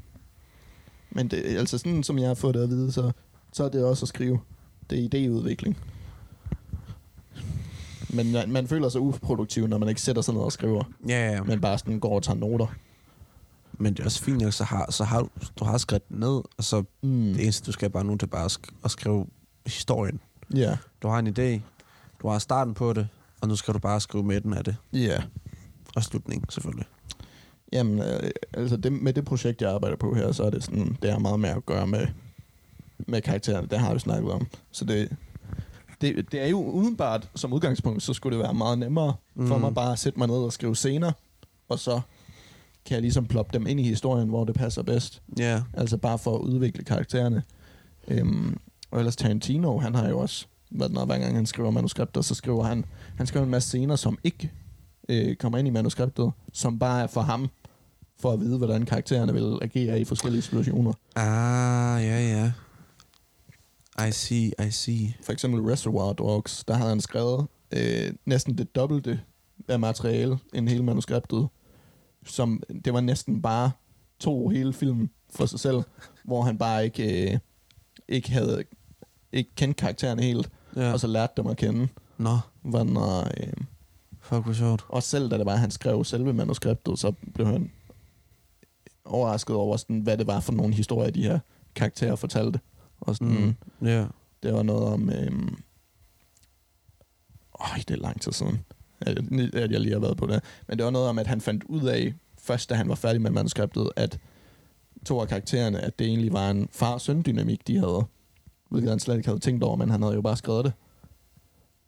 [SPEAKER 1] Men det, altså sådan som jeg har fået det at vide, så, så er det også at skrive. Det er idéudvikling. Men man, man føler sig uproduktiv, når man ikke sætter sig ned og skriver,
[SPEAKER 5] Ja, ja, men,
[SPEAKER 1] men bare sådan går og tager noter.
[SPEAKER 5] men det er også fint nok, så har, så har du, du har skrevet den ned, og så
[SPEAKER 1] Mm.
[SPEAKER 5] det eneste, du skal bare nu, det er bare at, sk- at skrive historien.
[SPEAKER 1] Ja.
[SPEAKER 5] Du har en idé, du har starten på det, og nu skal du bare skrive midten af det.
[SPEAKER 1] Ja.
[SPEAKER 5] Og slutningen, selvfølgelig.
[SPEAKER 1] Jamen, øh, altså det, med det projekt, jeg arbejder på her, så er det sådan, det har meget med at gøre med, med karaktererne. Det har vi snakket om. Så det, det, det er jo udenbart, som udgangspunkt, så skulle det være meget nemmere mm. for
[SPEAKER 5] Mm.
[SPEAKER 1] mig bare at sætte mig ned og skrive scener, og så kan jeg ligesom ploppe dem ind i historien, hvor det passer bedst.
[SPEAKER 5] Ja.
[SPEAKER 1] Altså bare for at udvikle karaktererne. Øhm, og ellers Tarantino, han har jo også Hvad den er, hver gang han skriver manuskripter, så skriver han, han skriver en masse scener, som ikke øh, kommer ind i manuskriptet, som bare er for ham, for at vide, hvordan karaktererne vil agere i forskellige situationer.
[SPEAKER 2] Ah, ja, ja. I see, I see.
[SPEAKER 1] For eksempel Reservoir Dogs, der havde han skrevet øh, næsten det dobbelte af materiale end hele manuskriptet, som det var næsten bare to hele film for sig selv, hvor han bare ikke, øh, ikke havde ikke kendte karaktererne helt,
[SPEAKER 2] Ja.
[SPEAKER 1] ja. og så lærte dem at kende.
[SPEAKER 2] Nå,
[SPEAKER 1] Var, når, øh,
[SPEAKER 2] fuck, hvor sjovt.
[SPEAKER 1] og selv da det var, at han skrev selve manuskriptet, så blev han overrasket over, sådan, hvad det var for nogle historier, de her karakterer fortalte. Og sådan, mm.
[SPEAKER 2] Ja.
[SPEAKER 1] Det var noget om... Øhm... Øj, det er lang tid siden, at jeg- at jeg lige har været på det. Men det var noget om, at han fandt ud af, først da han var færdig med manuskriptet, at to af karaktererne, at det egentlig var en far-søn-dynamik, de havde. Hvilket han slet ikke havde tænkt over, men han havde jo bare skrevet det.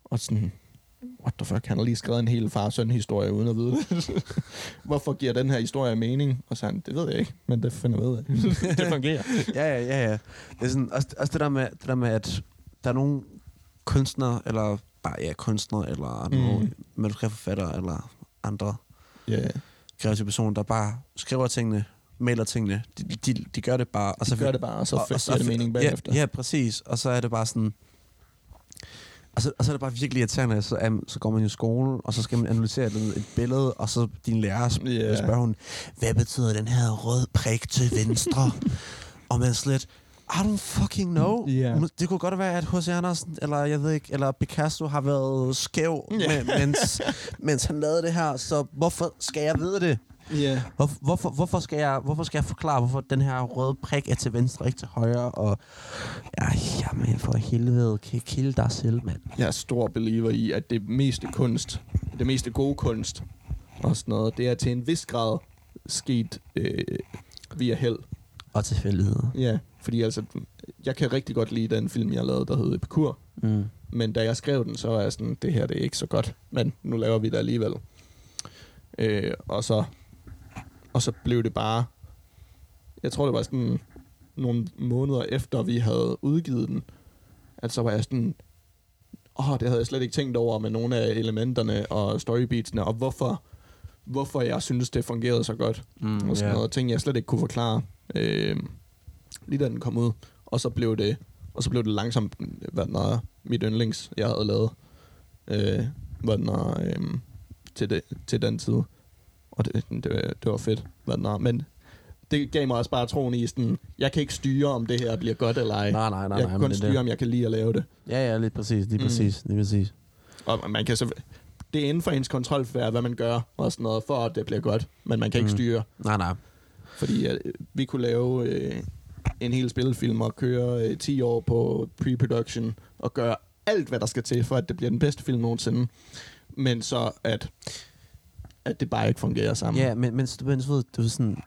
[SPEAKER 1] Og sådan, what the fuck, han har lige skrevet en hel far-søn-historie uden at vide det. Hvorfor giver den her historie mening? Og så han, det ved jeg ikke, men det finder jeg ud af. det fungerer.
[SPEAKER 2] ja, ja, ja, ja. Det er sådan, også, også det, der med, det der med, at der er nogle kunstnere, eller bare ja, kunstnere, eller
[SPEAKER 1] Mm.
[SPEAKER 2] mm. nogle manuskriptforfattere, eller andre
[SPEAKER 1] Ja, yeah.
[SPEAKER 2] kreative personer, der bare skriver tingene, maler tingene. De, de, de gør det bare. Og
[SPEAKER 1] så gør det bare, og så
[SPEAKER 2] og altså,
[SPEAKER 1] finder det mening bagefter.
[SPEAKER 2] Ja, ja, præcis. Og så er det bare sådan... Og så, og så er det bare virkelig irriterende, så, um, så går man i skolen, og så skal man analysere et, et billede, og så din lærer sp-
[SPEAKER 1] Ja.
[SPEAKER 2] yeah. spørger hun, hvad betyder den her røde prik til venstre? og man slet, I don't fucking know.
[SPEAKER 1] Ja.
[SPEAKER 2] Mu- Det kunne godt være, at H.C. Andersen, eller jeg ved ikke, eller Picasso har været skæv,
[SPEAKER 1] Ja.
[SPEAKER 2] yeah. mens, mens han lavede det her, så hvorfor skal jeg vide det?
[SPEAKER 1] Yeah.
[SPEAKER 2] Hvor, hvorfor, hvorfor, skal jeg, hvorfor skal jeg forklare, hvorfor den her røde prik er til venstre og ikke til højre? Og, ja, jamen for helvede, kan kilde dig selv, mand.
[SPEAKER 1] jeg er stor believer i, at det meste kunst, det meste gode kunst og sådan noget, det er til en vis grad sket øh, via held.
[SPEAKER 2] Og tilfældigheder.
[SPEAKER 1] Ja, fordi altså, jeg kan rigtig godt lide den film, jeg lavede, der hed Epikur.
[SPEAKER 2] Mm.
[SPEAKER 1] Men da jeg skrev den, så var jeg sådan, det her det er ikke så godt, men nu laver vi det alligevel. Øh, og, så, og så blev det bare, jeg tror det var sådan nogle måneder efter, vi havde udgivet den, at så var jeg sådan, åh, det havde jeg slet ikke tænkt over med nogle af elementerne og storybeatsene, og hvorfor, hvorfor jeg synes, det fungerede så godt
[SPEAKER 2] Mm,
[SPEAKER 1] og sådan yeah. noget. Ting, jeg slet ikke kunne forklare, øh, lige da den kom ud. Og så blev det, og så blev det langsomt, hvad den er, mit yndlings, jeg havde lavet, øh, hvad den er, øh, til, det, til den tid. Og det, det, var- det var fedt, hvad den er. Men det gav mig også bare troen i, sådan, jeg kan ikke styre, om det her bliver godt eller ej.
[SPEAKER 2] Nej, nej, nej.
[SPEAKER 1] jeg
[SPEAKER 2] nej
[SPEAKER 1] kan
[SPEAKER 2] men
[SPEAKER 1] kun
[SPEAKER 2] det
[SPEAKER 1] styre,
[SPEAKER 2] der.
[SPEAKER 1] om jeg kan lide at lave det.
[SPEAKER 2] Ja, ja, lige præcis, lige
[SPEAKER 1] Mm.
[SPEAKER 2] præcis, mm. lige præcis.
[SPEAKER 1] Og man kan så, det er inden for ens kontrolfærd, hvad man gør og sådan noget, for at det bliver godt. Men man kan ikke
[SPEAKER 2] Mm.
[SPEAKER 1] styre,
[SPEAKER 2] Nej, nej.
[SPEAKER 1] Fordi at, øh, vi kunne lave øh, en hel spillefilm og køre øh, 10 år på pre-production og gøre alt, hvad der skal til, for at det bliver den bedste film nogensinde. Men så at, at det bare ikke fungerer sammen.
[SPEAKER 2] Ja, men, men, du, men du ved, du er sådan...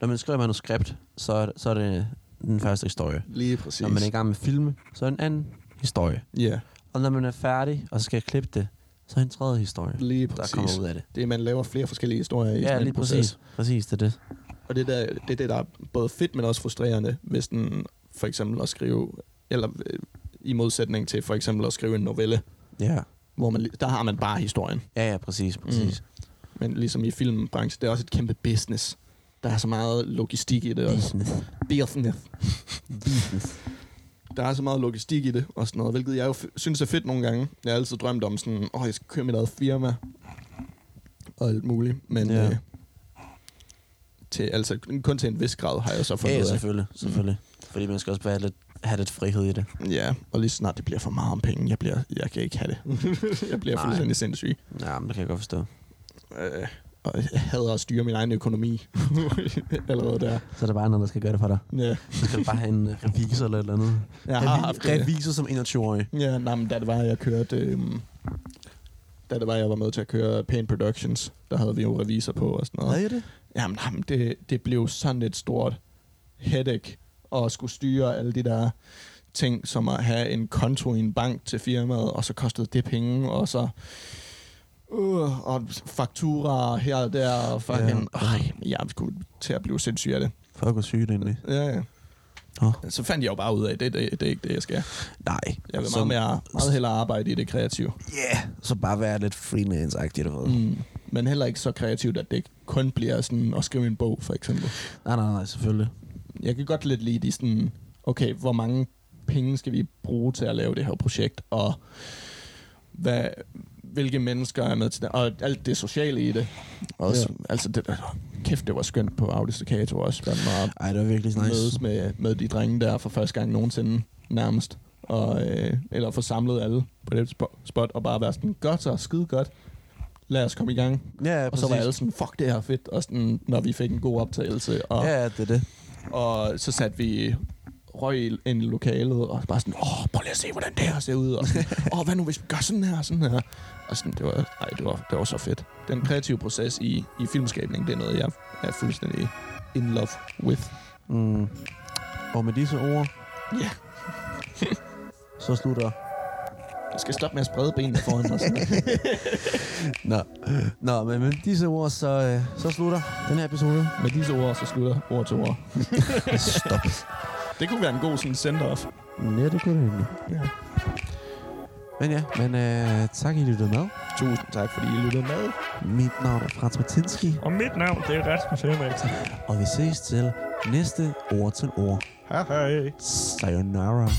[SPEAKER 2] Når man skriver manuskript, så er, det- så er det den første historie.
[SPEAKER 1] Lige præcis.
[SPEAKER 2] Når man er i gang med filme, så er det en anden historie.
[SPEAKER 1] Ja,
[SPEAKER 2] Og når man er færdig, og så skal jeg klippe det, så er det en tredje historie,
[SPEAKER 1] lige
[SPEAKER 2] der
[SPEAKER 1] præcis.
[SPEAKER 2] kommer ud af det.
[SPEAKER 1] Det er, at man laver flere forskellige historier i
[SPEAKER 2] Ja,
[SPEAKER 1] sådan en
[SPEAKER 2] lige
[SPEAKER 1] proces.
[SPEAKER 2] præcis. Præcis, det er det.
[SPEAKER 1] Og det, der, det er det, der er både fedt, men også frustrerende, hvis den for eksempel at skrive, eller øh, i modsætning til for eksempel at skrive en novelle,
[SPEAKER 2] Ja,
[SPEAKER 1] hvor man, li- der har man bare historien.
[SPEAKER 2] ja, ja præcis, præcis. Mm.
[SPEAKER 1] Men ligesom i filmbranchen, det er også et kæmpe business. Der er så meget logistik i det også.
[SPEAKER 2] Business.
[SPEAKER 1] Business. Der er så meget logistik i det og sådan noget, hvilket jeg jo f- synes er fedt nogle gange. Jeg har altid drømt om sådan, åh, oh, jeg skal køre mit eget firma og alt muligt. Men
[SPEAKER 2] Ja.
[SPEAKER 1] ja. øh, til, altså, kun til en vis grad har jeg så
[SPEAKER 2] Ja,
[SPEAKER 1] fundet
[SPEAKER 2] ja,
[SPEAKER 1] ud af.
[SPEAKER 2] selvfølgelig, selvfølgelig. Mm. Fordi man skal også bare have lidt, have lidt frihed i det.
[SPEAKER 1] Ja, og lige så snart det bliver for meget om penge, jeg, bliver, jeg kan ikke have det. jeg bliver
[SPEAKER 2] Nej.
[SPEAKER 1] fuldstændig sindssyg.
[SPEAKER 2] Ja, men det kan jeg godt forstå.
[SPEAKER 1] Øh, og jeg hader at styre min egen økonomi. Allerede der.
[SPEAKER 2] Så er der bare andre, der skal gøre det for dig.
[SPEAKER 1] Ja.
[SPEAKER 2] Så skal du bare have en øh, revisor eller et eller andet.
[SPEAKER 1] Jeg har haft det.
[SPEAKER 2] revisor som 21-årig.
[SPEAKER 1] Ja, nej, men da det var, jeg kørte... Øhm, da det var, jeg var med til at køre Pain Productions, der havde vi jo revisor på og sådan noget.
[SPEAKER 2] I det?
[SPEAKER 1] Jamen, jamen det, det blev sådan et stort headache at skulle styre alle de der ting, som at have en konto i en bank til firmaet, og så kostede det penge, og så... Uh, og fakturer her og der, og fucking... Ja. Øh, jeg skulle til at blive sindssyg af det.
[SPEAKER 2] Fuck, hvor sygt egentlig.
[SPEAKER 1] Ja, ja.
[SPEAKER 2] Nå.
[SPEAKER 1] Så fandt jeg jo bare ud af, at det, det, det er ikke det, jeg skal.
[SPEAKER 2] Nej.
[SPEAKER 1] Jeg vil
[SPEAKER 2] Så-
[SPEAKER 1] meget, mere, meget hellere arbejde i det kreative.
[SPEAKER 2] Yeah, så bare være lidt freelance-agtig, du ved. Mm.
[SPEAKER 1] Mm. Men heller ikke så kreativt, at det ikke kun bliver sådan at skrive en bog, for eksempel.
[SPEAKER 2] Nej, nej, nej, selvfølgelig.
[SPEAKER 1] Jeg kan godt lidt lide de sådan, okay, hvor mange penge skal vi bruge til at lave det her projekt, og hvad, hvilke mennesker er med til det, og alt det sociale i det. Også, ja. Altså, det, der- kæft, det var skønt på Audi Staccato også, hvad man
[SPEAKER 2] Ej, det var virkelig
[SPEAKER 1] nice. mødes med, med de drenge der for første gang nogensinde, nærmest. Og, øh, eller få samlet alle på det spo- spot, og bare være sådan, godt så, skide godt, lad os komme i gang.
[SPEAKER 2] Ja, ja,
[SPEAKER 1] Og
[SPEAKER 2] præcis.
[SPEAKER 1] så var alle sådan, fuck det her er fedt, og sådan, når vi fik en god optagelse, og,
[SPEAKER 2] Ja,
[SPEAKER 1] yeah.
[SPEAKER 2] ja, det er det.
[SPEAKER 1] og så satte vi røg ind i lokalet, og bare sådan, åh, prøv lige at se, hvordan det her ser ud, og sådan, åh, hvad nu hvis vi gør sådan her, og sådan her. Og sådan, det var, ej, det var, det var så fedt. Den kreative proces i, i filmskabning, det er noget, jeg er fuldstændig in love with.
[SPEAKER 2] Mm. Og med disse ord,
[SPEAKER 1] Ja.
[SPEAKER 2] så slutter...
[SPEAKER 1] Jeg skal stoppe med at sprede benene foran mig. Sådan.
[SPEAKER 2] Nå, Nå men med disse ord, så, øh, så slutter den her episode.
[SPEAKER 1] Med disse ord, så slutter ord til ord.
[SPEAKER 2] Stop.
[SPEAKER 1] Det kunne være en god sådan send-off.
[SPEAKER 2] Ja, det kunne det egentlig.
[SPEAKER 1] Ja.
[SPEAKER 2] Men ja, men øh, tak, I lyttede med.
[SPEAKER 1] Tusind tak, fordi I lyttede med.
[SPEAKER 2] Mit navn er Frans Martinski,
[SPEAKER 3] Og mit navn, det er Rasmus Henriksen.
[SPEAKER 2] og vi ses til næste ord til ord.
[SPEAKER 3] Hej hej.
[SPEAKER 2] Sayonara.